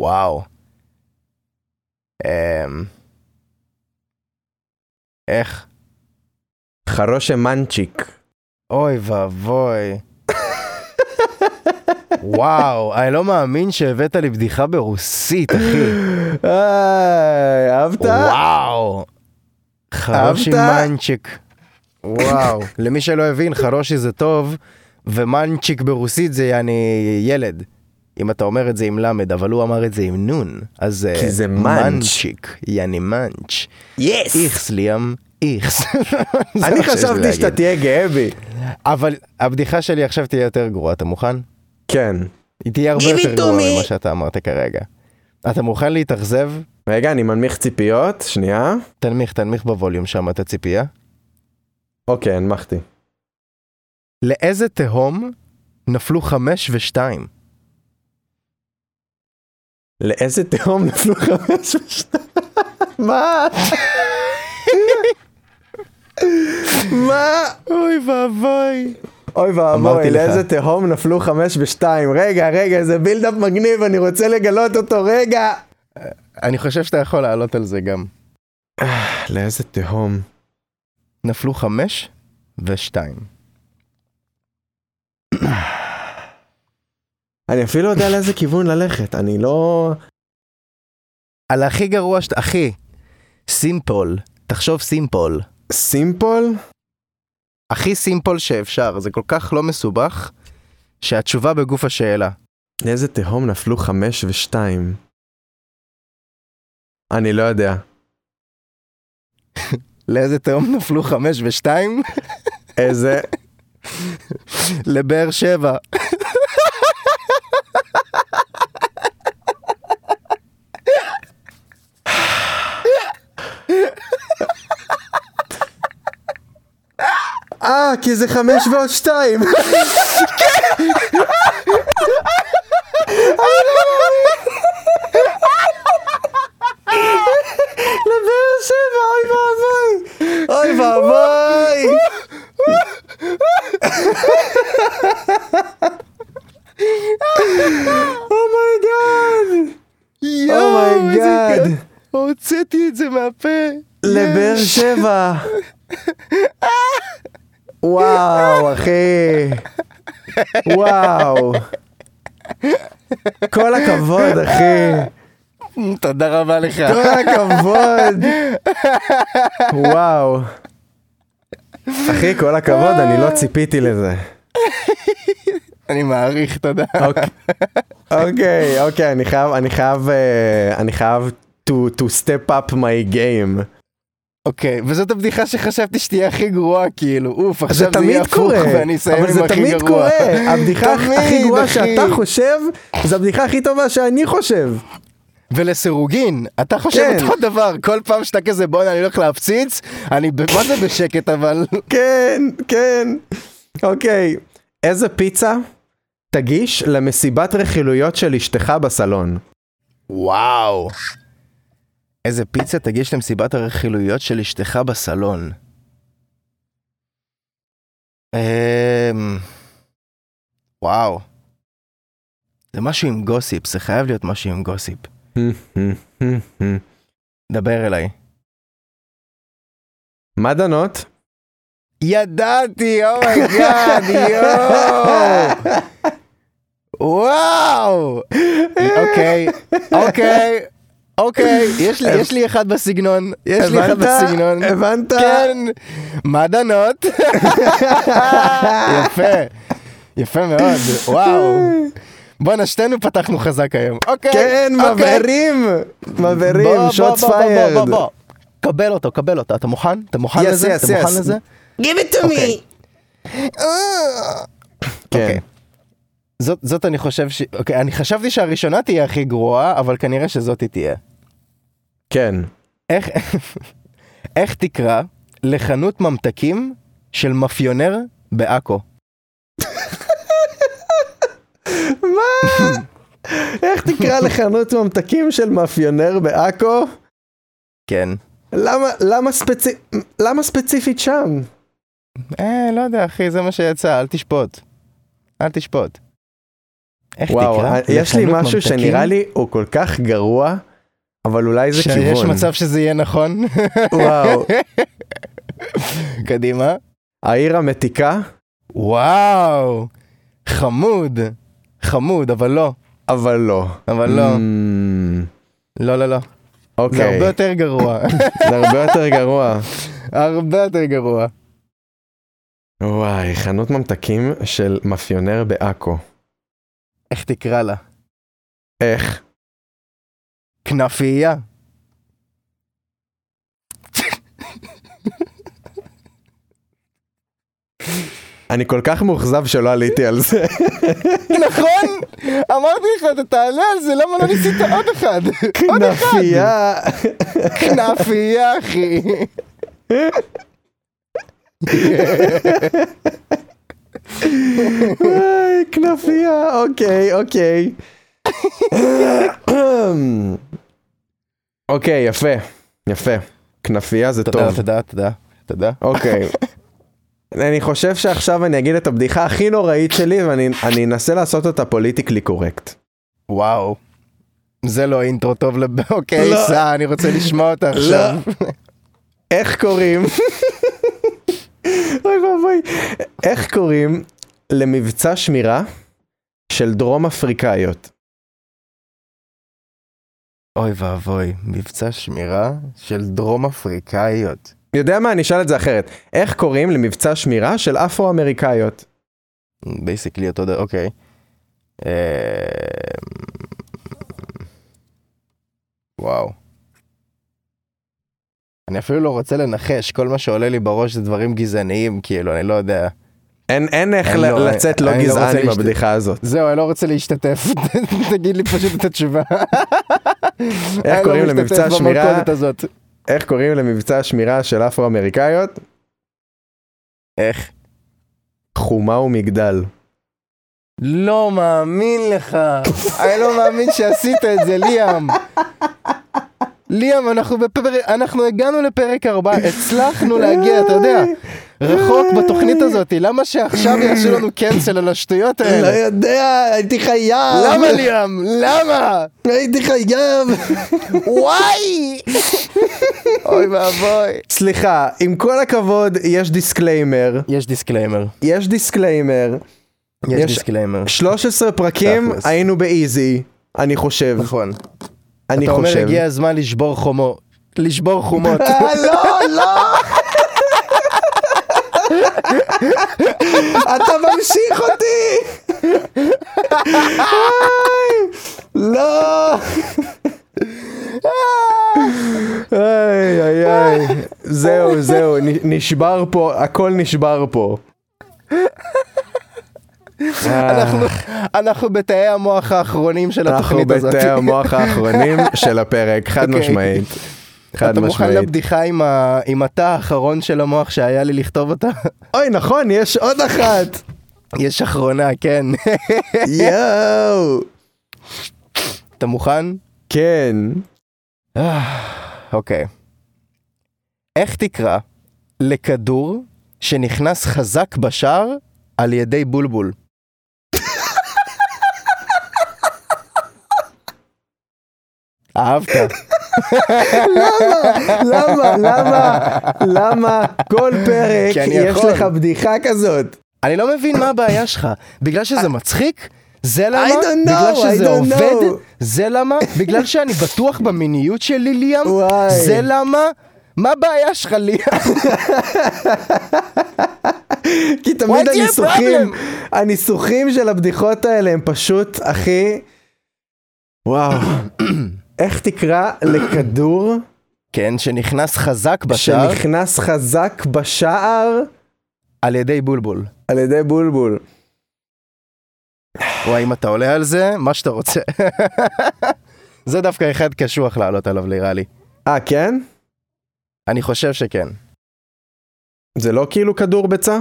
[SPEAKER 2] וואו. אמ... איך?
[SPEAKER 1] חרושה מנצ'יק.
[SPEAKER 2] אוי ואבוי. וואו, אני לא מאמין שהבאת לי בדיחה ברוסית, אחי.
[SPEAKER 1] איי, אהבת?
[SPEAKER 2] וואו. חרושי
[SPEAKER 1] אהבת?
[SPEAKER 2] מנצ'יק. וואו. למי שלא הבין, חרושי זה טוב, ומנצ'יק ברוסית זה יעני ילד. אם אתה אומר את זה עם למד, אבל הוא אמר את זה עם נון. אז אה,
[SPEAKER 1] כי זה מאנץ'.
[SPEAKER 2] מנצ'יק, יעני מאנץ'.
[SPEAKER 1] יס!
[SPEAKER 2] איכס ליאם, איכס. זה
[SPEAKER 1] אני
[SPEAKER 2] מה שיש לי
[SPEAKER 1] חשבתי שאתה
[SPEAKER 2] להגיד.
[SPEAKER 1] תהיה גאה בי.
[SPEAKER 2] אבל הבדיחה שלי עכשיו תהיה יותר גרועה, אתה מוכן?
[SPEAKER 1] כן.
[SPEAKER 2] היא תהיה הרבה
[SPEAKER 1] Give it
[SPEAKER 2] יותר
[SPEAKER 1] to
[SPEAKER 2] גרועה
[SPEAKER 1] me.
[SPEAKER 2] ממה שאתה אמרת כרגע. אתה מוכן להתאכזב?
[SPEAKER 1] רגע, אני מנמיך ציפיות, שנייה.
[SPEAKER 2] תנמיך, תנמיך בווליום שם את הציפייה.
[SPEAKER 1] אוקיי, הנמכתי.
[SPEAKER 2] לאיזה תהום נפלו חמש ושתיים?
[SPEAKER 1] לאיזה תהום נפלו חמש ושתיים? מה? מה?
[SPEAKER 2] אוי ואבוי.
[SPEAKER 1] אוי
[SPEAKER 2] אמרתי
[SPEAKER 1] ואבוי,
[SPEAKER 2] לך.
[SPEAKER 1] לאיזה תהום נפלו חמש ושתיים. רגע, רגע, זה בילדאפ מגניב, אני רוצה לגלות אותו, רגע.
[SPEAKER 2] אני חושב שאתה יכול לעלות על זה גם.
[SPEAKER 1] לאיזה תהום?
[SPEAKER 2] נפלו חמש ושתיים.
[SPEAKER 1] אני אפילו לא יודע לאיזה כיוון ללכת, אני לא...
[SPEAKER 2] על הכי גרוע שאתה... אחי, סימפול. תחשוב סימפול.
[SPEAKER 1] סימפול?
[SPEAKER 2] הכי סימפול שאפשר. זה כל כך לא מסובך, שהתשובה בגוף השאלה.
[SPEAKER 1] לאיזה תהום נפלו חמש ושתיים? אני לא יודע.
[SPEAKER 2] לאיזה תהום נפלו חמש ושתיים?
[SPEAKER 1] איזה...
[SPEAKER 2] לבאר שבע.
[SPEAKER 1] אה, כי זה חמש ועוד שתיים. לבאר שבע, אוי ואבוי. אוי ואבוי. Oh אומייגאד.
[SPEAKER 2] יואו, איזה
[SPEAKER 1] אומייגאד.
[SPEAKER 2] גאד. Oh הוצאתי את זה מהפה.
[SPEAKER 1] לבאר
[SPEAKER 2] יש.
[SPEAKER 1] שבע. וואו, אחי. וואו. כל הכבוד, אחי.
[SPEAKER 2] תודה רבה לך.
[SPEAKER 1] כל הכבוד. וואו. אחי, כל הכבוד, אני לא ציפיתי לזה.
[SPEAKER 2] אני מעריך, תודה.
[SPEAKER 1] אוקיי. אוקיי, אוקיי, אני חייב, אני חייב, אה, אני חייב to, to step up my game.
[SPEAKER 2] אוקיי, וזאת הבדיחה שחשבתי שתהיה הכי גרועה, כאילו, אוף,
[SPEAKER 1] זה
[SPEAKER 2] עכשיו זה יהיה
[SPEAKER 1] תמיד
[SPEAKER 2] הפוך
[SPEAKER 1] קורה,
[SPEAKER 2] ואני אסיים
[SPEAKER 1] אבל
[SPEAKER 2] עם
[SPEAKER 1] זה
[SPEAKER 2] הכי
[SPEAKER 1] תמיד
[SPEAKER 2] גרוע.
[SPEAKER 1] קורה, הבדיחה
[SPEAKER 2] תמיד,
[SPEAKER 1] הכי גרועה
[SPEAKER 2] אחי.
[SPEAKER 1] שאתה חושב, זה הבדיחה הכי טובה שאני חושב.
[SPEAKER 2] ולסירוגין, אתה חושב
[SPEAKER 1] כן.
[SPEAKER 2] אותו דבר, כל פעם שאתה כזה בואנה אני הולך להפציץ, אני ב- מה זה בשקט אבל,
[SPEAKER 1] כן, כן. אוקיי, איזה פיצה תגיש למסיבת רכילויות של אשתך בסלון?
[SPEAKER 2] וואו. איזה פיצה תגיש למסיבת הרכילויות של אשתך בסלון. אמ, וואו. זה משהו עם גוסיפ, זה חייב להיות משהו עם גוסיפ. דבר אליי.
[SPEAKER 1] מה דנות?
[SPEAKER 2] ידעתי,
[SPEAKER 1] oh
[SPEAKER 2] אומייגאד, יואו! וואו! אוקיי, אוקיי, אוקיי, יש לי- יש לי אחד בסגנון, יש לי אחד בסגנון.
[SPEAKER 1] הבנת?
[SPEAKER 2] כן, מעדנות. יפה, יפה מאוד, וואו. בואנה, שתינו פתחנו חזק היום. אוקיי,
[SPEAKER 1] כן,
[SPEAKER 2] אוקיי.
[SPEAKER 1] מבערים,
[SPEAKER 2] בוא,
[SPEAKER 1] מבערים,
[SPEAKER 2] בוא,
[SPEAKER 1] שוטס
[SPEAKER 2] בוא, בוא,
[SPEAKER 1] פיירד.
[SPEAKER 2] בוא, בוא. קבל אותו, קבל אותו. אתה מוכן? אתה מוכן
[SPEAKER 1] Yes,
[SPEAKER 2] לזה?
[SPEAKER 1] yes,
[SPEAKER 2] אתה מוכן
[SPEAKER 1] yes.
[SPEAKER 2] לזה?
[SPEAKER 3] Give it to me.
[SPEAKER 1] כן.
[SPEAKER 2] אוקיי. זאת, זאת אני חושב ש... אוקיי, אני חשבתי שהראשונה תהיה הכי גרועה, אבל כנראה שזאת היא תהיה.
[SPEAKER 1] כן.
[SPEAKER 2] איך, איך תקרא לחנות ממתקים של מאפיונר בעכו?
[SPEAKER 1] מה? איך תקרא לחנות ממתקים של מאפיונר בעכו?
[SPEAKER 2] כן.
[SPEAKER 1] למה, למה, ספצי... למה ספציפית שם?
[SPEAKER 2] אה, לא יודע, אחי, זה מה שיצא, אל תשפוט. אל תשפוט. איך תקרא?
[SPEAKER 1] אה, יש לי
[SPEAKER 2] לחנות
[SPEAKER 1] משהו
[SPEAKER 2] ממתקים
[SPEAKER 1] שנראה לי הוא כל כך גרוע, אבל אולי זה כיוון.
[SPEAKER 2] שיש מצב שזה יהיה נכון?
[SPEAKER 1] וואו.
[SPEAKER 2] קדימה.
[SPEAKER 1] העיר המתיקה,
[SPEAKER 2] וואו, חמוד. חמוד, אבל לא.
[SPEAKER 1] אבל לא.
[SPEAKER 2] אבל לא.
[SPEAKER 1] אמ,
[SPEAKER 2] לא, לא, לא. זה
[SPEAKER 1] אוקיי,
[SPEAKER 2] הרבה יותר גרוע.
[SPEAKER 1] זה הרבה יותר גרוע.
[SPEAKER 2] הרבה יותר גרוע.
[SPEAKER 1] וואי, חנות ממתקים של מאפיונר בעכו.
[SPEAKER 2] איך תקרא לה?
[SPEAKER 1] איך?
[SPEAKER 2] כנפייה.
[SPEAKER 1] אני כל כך מאוכזב שלא עליתי על זה.
[SPEAKER 2] נכון? אמרתי לך, אתה תעלה על זה, למה לא ניסית עוד אחד? עוד אחד.
[SPEAKER 1] כנפייה.
[SPEAKER 2] כנפייה, אחי.
[SPEAKER 1] היי, אה, כנופיה, אוקיי, אוקיי. אוקיי, יפה, יפה. כנפייה זה
[SPEAKER 2] תודה,
[SPEAKER 1] טוב.
[SPEAKER 2] תודה, תודה, תודה.
[SPEAKER 1] אוקיי. אני חושב שעכשיו אני אגיד את הבדיחה הכי נוראית שלי ואני אני אנסה לעשות אותה פוליטיקלי קורקט.
[SPEAKER 2] וואו. זה לא אינטרו טוב לב... אוקיי,
[SPEAKER 1] לא.
[SPEAKER 2] סע, אני רוצה לשמוע אותה עכשיו.
[SPEAKER 1] איך קוראים? אוי ואבוי. איך קוראים למבצע שמירה של דרום אפריקאיות?
[SPEAKER 2] אוי ואבוי, מבצע שמירה של דרום אפריקאיות.
[SPEAKER 1] יודע מה? אני אשאל את זה אחרת. איך קוראים למבצע שמירה של אפרו-אמריקאיות?
[SPEAKER 2] בייסיקלי אותו דבר, אוקיי. אמ, וואו. אני אפילו לא רוצה לנחש, כל מה שעולה לי בראש זה דברים גזעניים, כאילו, אני לא יודע.
[SPEAKER 1] אין, אין איך
[SPEAKER 2] אני
[SPEAKER 1] ל-
[SPEAKER 2] לא-
[SPEAKER 1] לצאת לא
[SPEAKER 2] אני לא
[SPEAKER 1] גזען
[SPEAKER 2] רוצה
[SPEAKER 1] עם
[SPEAKER 2] להשת-
[SPEAKER 1] הבדיחה הזאת.
[SPEAKER 2] זהו, אני לא רוצה להשתתף, תגיד לי פשוט את התשובה.
[SPEAKER 1] איך קוראים למבצע
[SPEAKER 2] אני לא משתתף
[SPEAKER 1] השמירה?
[SPEAKER 2] במלכודת הזאת.
[SPEAKER 1] איך קוראים למבצע השמירה של אפרו-אמריקאיות?
[SPEAKER 2] איך?
[SPEAKER 1] חומה ומגדל.
[SPEAKER 2] לא מאמין לך. אני לא מאמין שעשית את זה, ליאם. ליאם, אנחנו בפרק, אנחנו הגענו לפרק 4, הצלחנו להגיע, אתה יודע, רחוק בתוכנית הזאת, למה שעכשיו יעשו לנו קאנסל על השטויות האלה?
[SPEAKER 1] יודע, הייתי חייב.
[SPEAKER 2] למה ליאם? למה?
[SPEAKER 1] הייתי חייב.
[SPEAKER 2] וואי! אוי ואבוי.
[SPEAKER 1] סליחה, עם כל הכבוד, יש דיסקליימר.
[SPEAKER 2] יש דיסקליימר.
[SPEAKER 1] יש דיסקליימר.
[SPEAKER 2] יש
[SPEAKER 1] יש-
[SPEAKER 2] דיסקליימר.
[SPEAKER 1] 13 פרקים,
[SPEAKER 2] תכלס.
[SPEAKER 1] היינו באיזי. אני חושב.
[SPEAKER 2] נכון.
[SPEAKER 1] אני
[SPEAKER 2] אתה
[SPEAKER 1] חושב.
[SPEAKER 2] אומר הגיע הזמן לשבור חומו. לשבור חומות.
[SPEAKER 1] אה, לא, לא! אתה ממשיך אותי! איי, לא! איי, איי, איי. זהו, זהו, נ- נשבר פה, הכל נשבר פה.
[SPEAKER 2] אנחנו- אנחנו בתאי המוח האחרונים של
[SPEAKER 1] אה. אנחנו
[SPEAKER 2] התוכנית הזאת.
[SPEAKER 1] בתאי המוח האחרונים של הפרק, חד
[SPEAKER 2] אוקיי.
[SPEAKER 1] משמעית. חד
[SPEAKER 2] אתה מוכן
[SPEAKER 1] משמעית.
[SPEAKER 2] לבדיחה עם ה- עם התא האחרון של המוח שהיה לי לכתוב אותה?
[SPEAKER 1] אוי, נכון, יש עוד אחת!
[SPEAKER 2] יש אחרונה, כן.
[SPEAKER 1] יואו!
[SPEAKER 2] אתה מוכן?
[SPEAKER 1] כן.
[SPEAKER 2] אוקיי. איך תקרא לכדור שנכנס חזק בשער על ידי בולבול? אהבת.
[SPEAKER 1] למה? למה? למה? כל פרק
[SPEAKER 2] כי אני
[SPEAKER 1] יש
[SPEAKER 2] יכול.
[SPEAKER 1] לך בדיחה כזאת.
[SPEAKER 2] אני לא מבין מה הבעיה שלך. בגלל שזה מצחיק? זה למה?
[SPEAKER 1] I don't know,
[SPEAKER 2] בגלל
[SPEAKER 1] I
[SPEAKER 2] שזה
[SPEAKER 1] don't
[SPEAKER 2] עובד?
[SPEAKER 1] know.
[SPEAKER 2] זה למה? בגלל שאני בטוח במיניות שלי, ליאם?
[SPEAKER 1] וואי.
[SPEAKER 2] זה למה? מה הבעיה שלך, ליאם?
[SPEAKER 1] כי תמיד
[SPEAKER 2] What's your
[SPEAKER 1] הניסוחים, הניסוחים של הבדיחות האלה הם פשוט, אחי... וואו. איך תקרא לכדור
[SPEAKER 2] כן, שנכנס חזק בשער
[SPEAKER 1] שנכנס חזק בשער
[SPEAKER 2] על ידי בולבול.
[SPEAKER 1] על ידי בולבול?
[SPEAKER 2] וואי, אם אתה עולה על זה, מה שאתה רוצה. זה דווקא אחד קשוח לעלות עליו, נראה לי.
[SPEAKER 1] אה, כן?
[SPEAKER 2] אני חושב שכן.
[SPEAKER 1] זה לא כאילו כדור ביצה?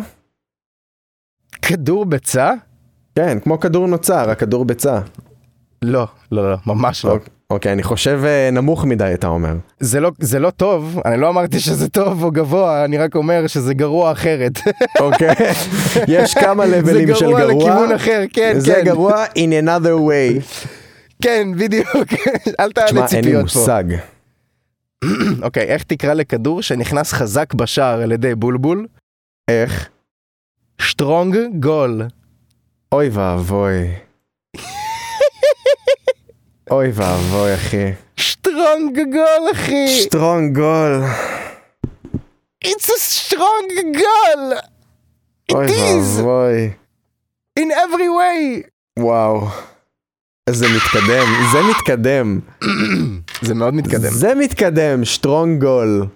[SPEAKER 2] כדור ביצה?
[SPEAKER 1] כן, כמו כדור נוצר, הכדור ביצה.
[SPEAKER 2] לא, לא, לא, ממש לא.
[SPEAKER 1] אוק- אוקיי, אני חושב אה, נמוך מדי, אתה אומר.
[SPEAKER 2] זה לא, זה לא טוב, אני לא אמרתי שזה טוב או גבוה, אני רק אומר שזה גרוע אחרת.
[SPEAKER 1] אוקיי. יש כמה
[SPEAKER 2] זה
[SPEAKER 1] לבלים של
[SPEAKER 2] גרוע
[SPEAKER 1] גרוע.
[SPEAKER 2] לכיוון אחר, כן,
[SPEAKER 1] זה
[SPEAKER 2] כן,
[SPEAKER 1] גרוע in another way.
[SPEAKER 2] כן, בדיוק. אל
[SPEAKER 1] תשמע,
[SPEAKER 2] תעלה
[SPEAKER 1] אין לי
[SPEAKER 2] ציפיות פה.
[SPEAKER 1] מושג.
[SPEAKER 2] אוקיי, איך תקרא לכדור שנכנס חזק בשער על ידי בולבול?
[SPEAKER 1] איך?
[SPEAKER 2] שטרונג גול.
[SPEAKER 1] אוי ואבוי. אוי ואבוי, אחי.
[SPEAKER 2] שטרונג גול, אחי!
[SPEAKER 1] שטרונג גול.
[SPEAKER 2] It's a strong goal!
[SPEAKER 1] אוי
[SPEAKER 2] is.
[SPEAKER 1] ואבוי.
[SPEAKER 2] In every way!
[SPEAKER 1] וואו. זה מתקדם, זה מתקדם.
[SPEAKER 2] זה מאוד מתקדם.
[SPEAKER 1] זה מתקדם, שטרונג גול.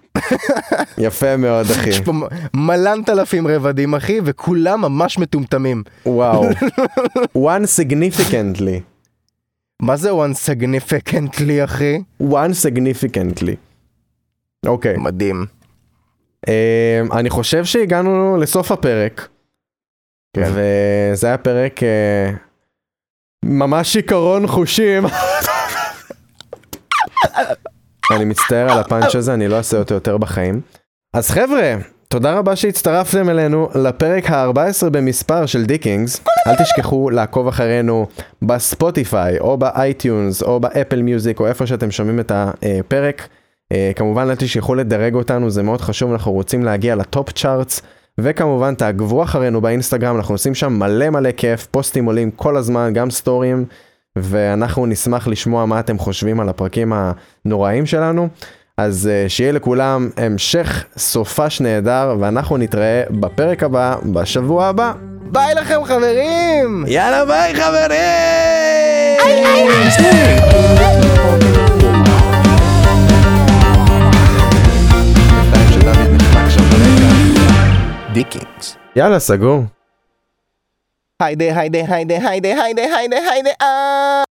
[SPEAKER 1] יפה מאוד, אחי.
[SPEAKER 2] יש פה מלנת אלפים רבדים, אחי, וכולם ממש מטומטמים.
[SPEAKER 1] וואו. one significantly.
[SPEAKER 2] מה זה one significantly, אחי?
[SPEAKER 1] one significantly. אוקיי.
[SPEAKER 2] מדהים.
[SPEAKER 1] אמ, אני חושב שהגענו לסוף הפרק.
[SPEAKER 2] כן.
[SPEAKER 1] וזה היה פרק אה, ממש שיכרון חושים. אני מצטער על הפאנץ' הזה, אני לא אעשה אותו יותר בחיים. אז חבר'ה, תודה רבה שהצטרפתם אלינו לפרק ה-14 במספר של דיקינגס. אל תשכחו לעקוב אחרינו בספוטיפיי, או באייטיונס, או באפל מיוזיק, או איפה שאתם שומעים את הפרק. אה, כמובן, אל תשכחו לדרג אותנו, זה מאוד חשוב, אנחנו רוצים להגיע לטופ צ'ארטס. וכמובן, תעקבו אחרינו באינסטגרם, אנחנו עושים שם מלא מלא כיף, פוסטים עולים כל הזמן, גם סטורים, ואנחנו נשמח לשמוע מה אתם חושבים על הפרקים הנוראים שלנו. אז אה, שיהיה לכולם המשך סופש נהדר, ואנחנו נתראה בפרק הבא, בשבוע הבא.
[SPEAKER 2] ביי לכם חברים!
[SPEAKER 1] יאללה ביי חברים!
[SPEAKER 2] דיקינגס.
[SPEAKER 1] יאללה סגור.
[SPEAKER 2] היידה היידה היידה היידה היידה היידה היידה אה!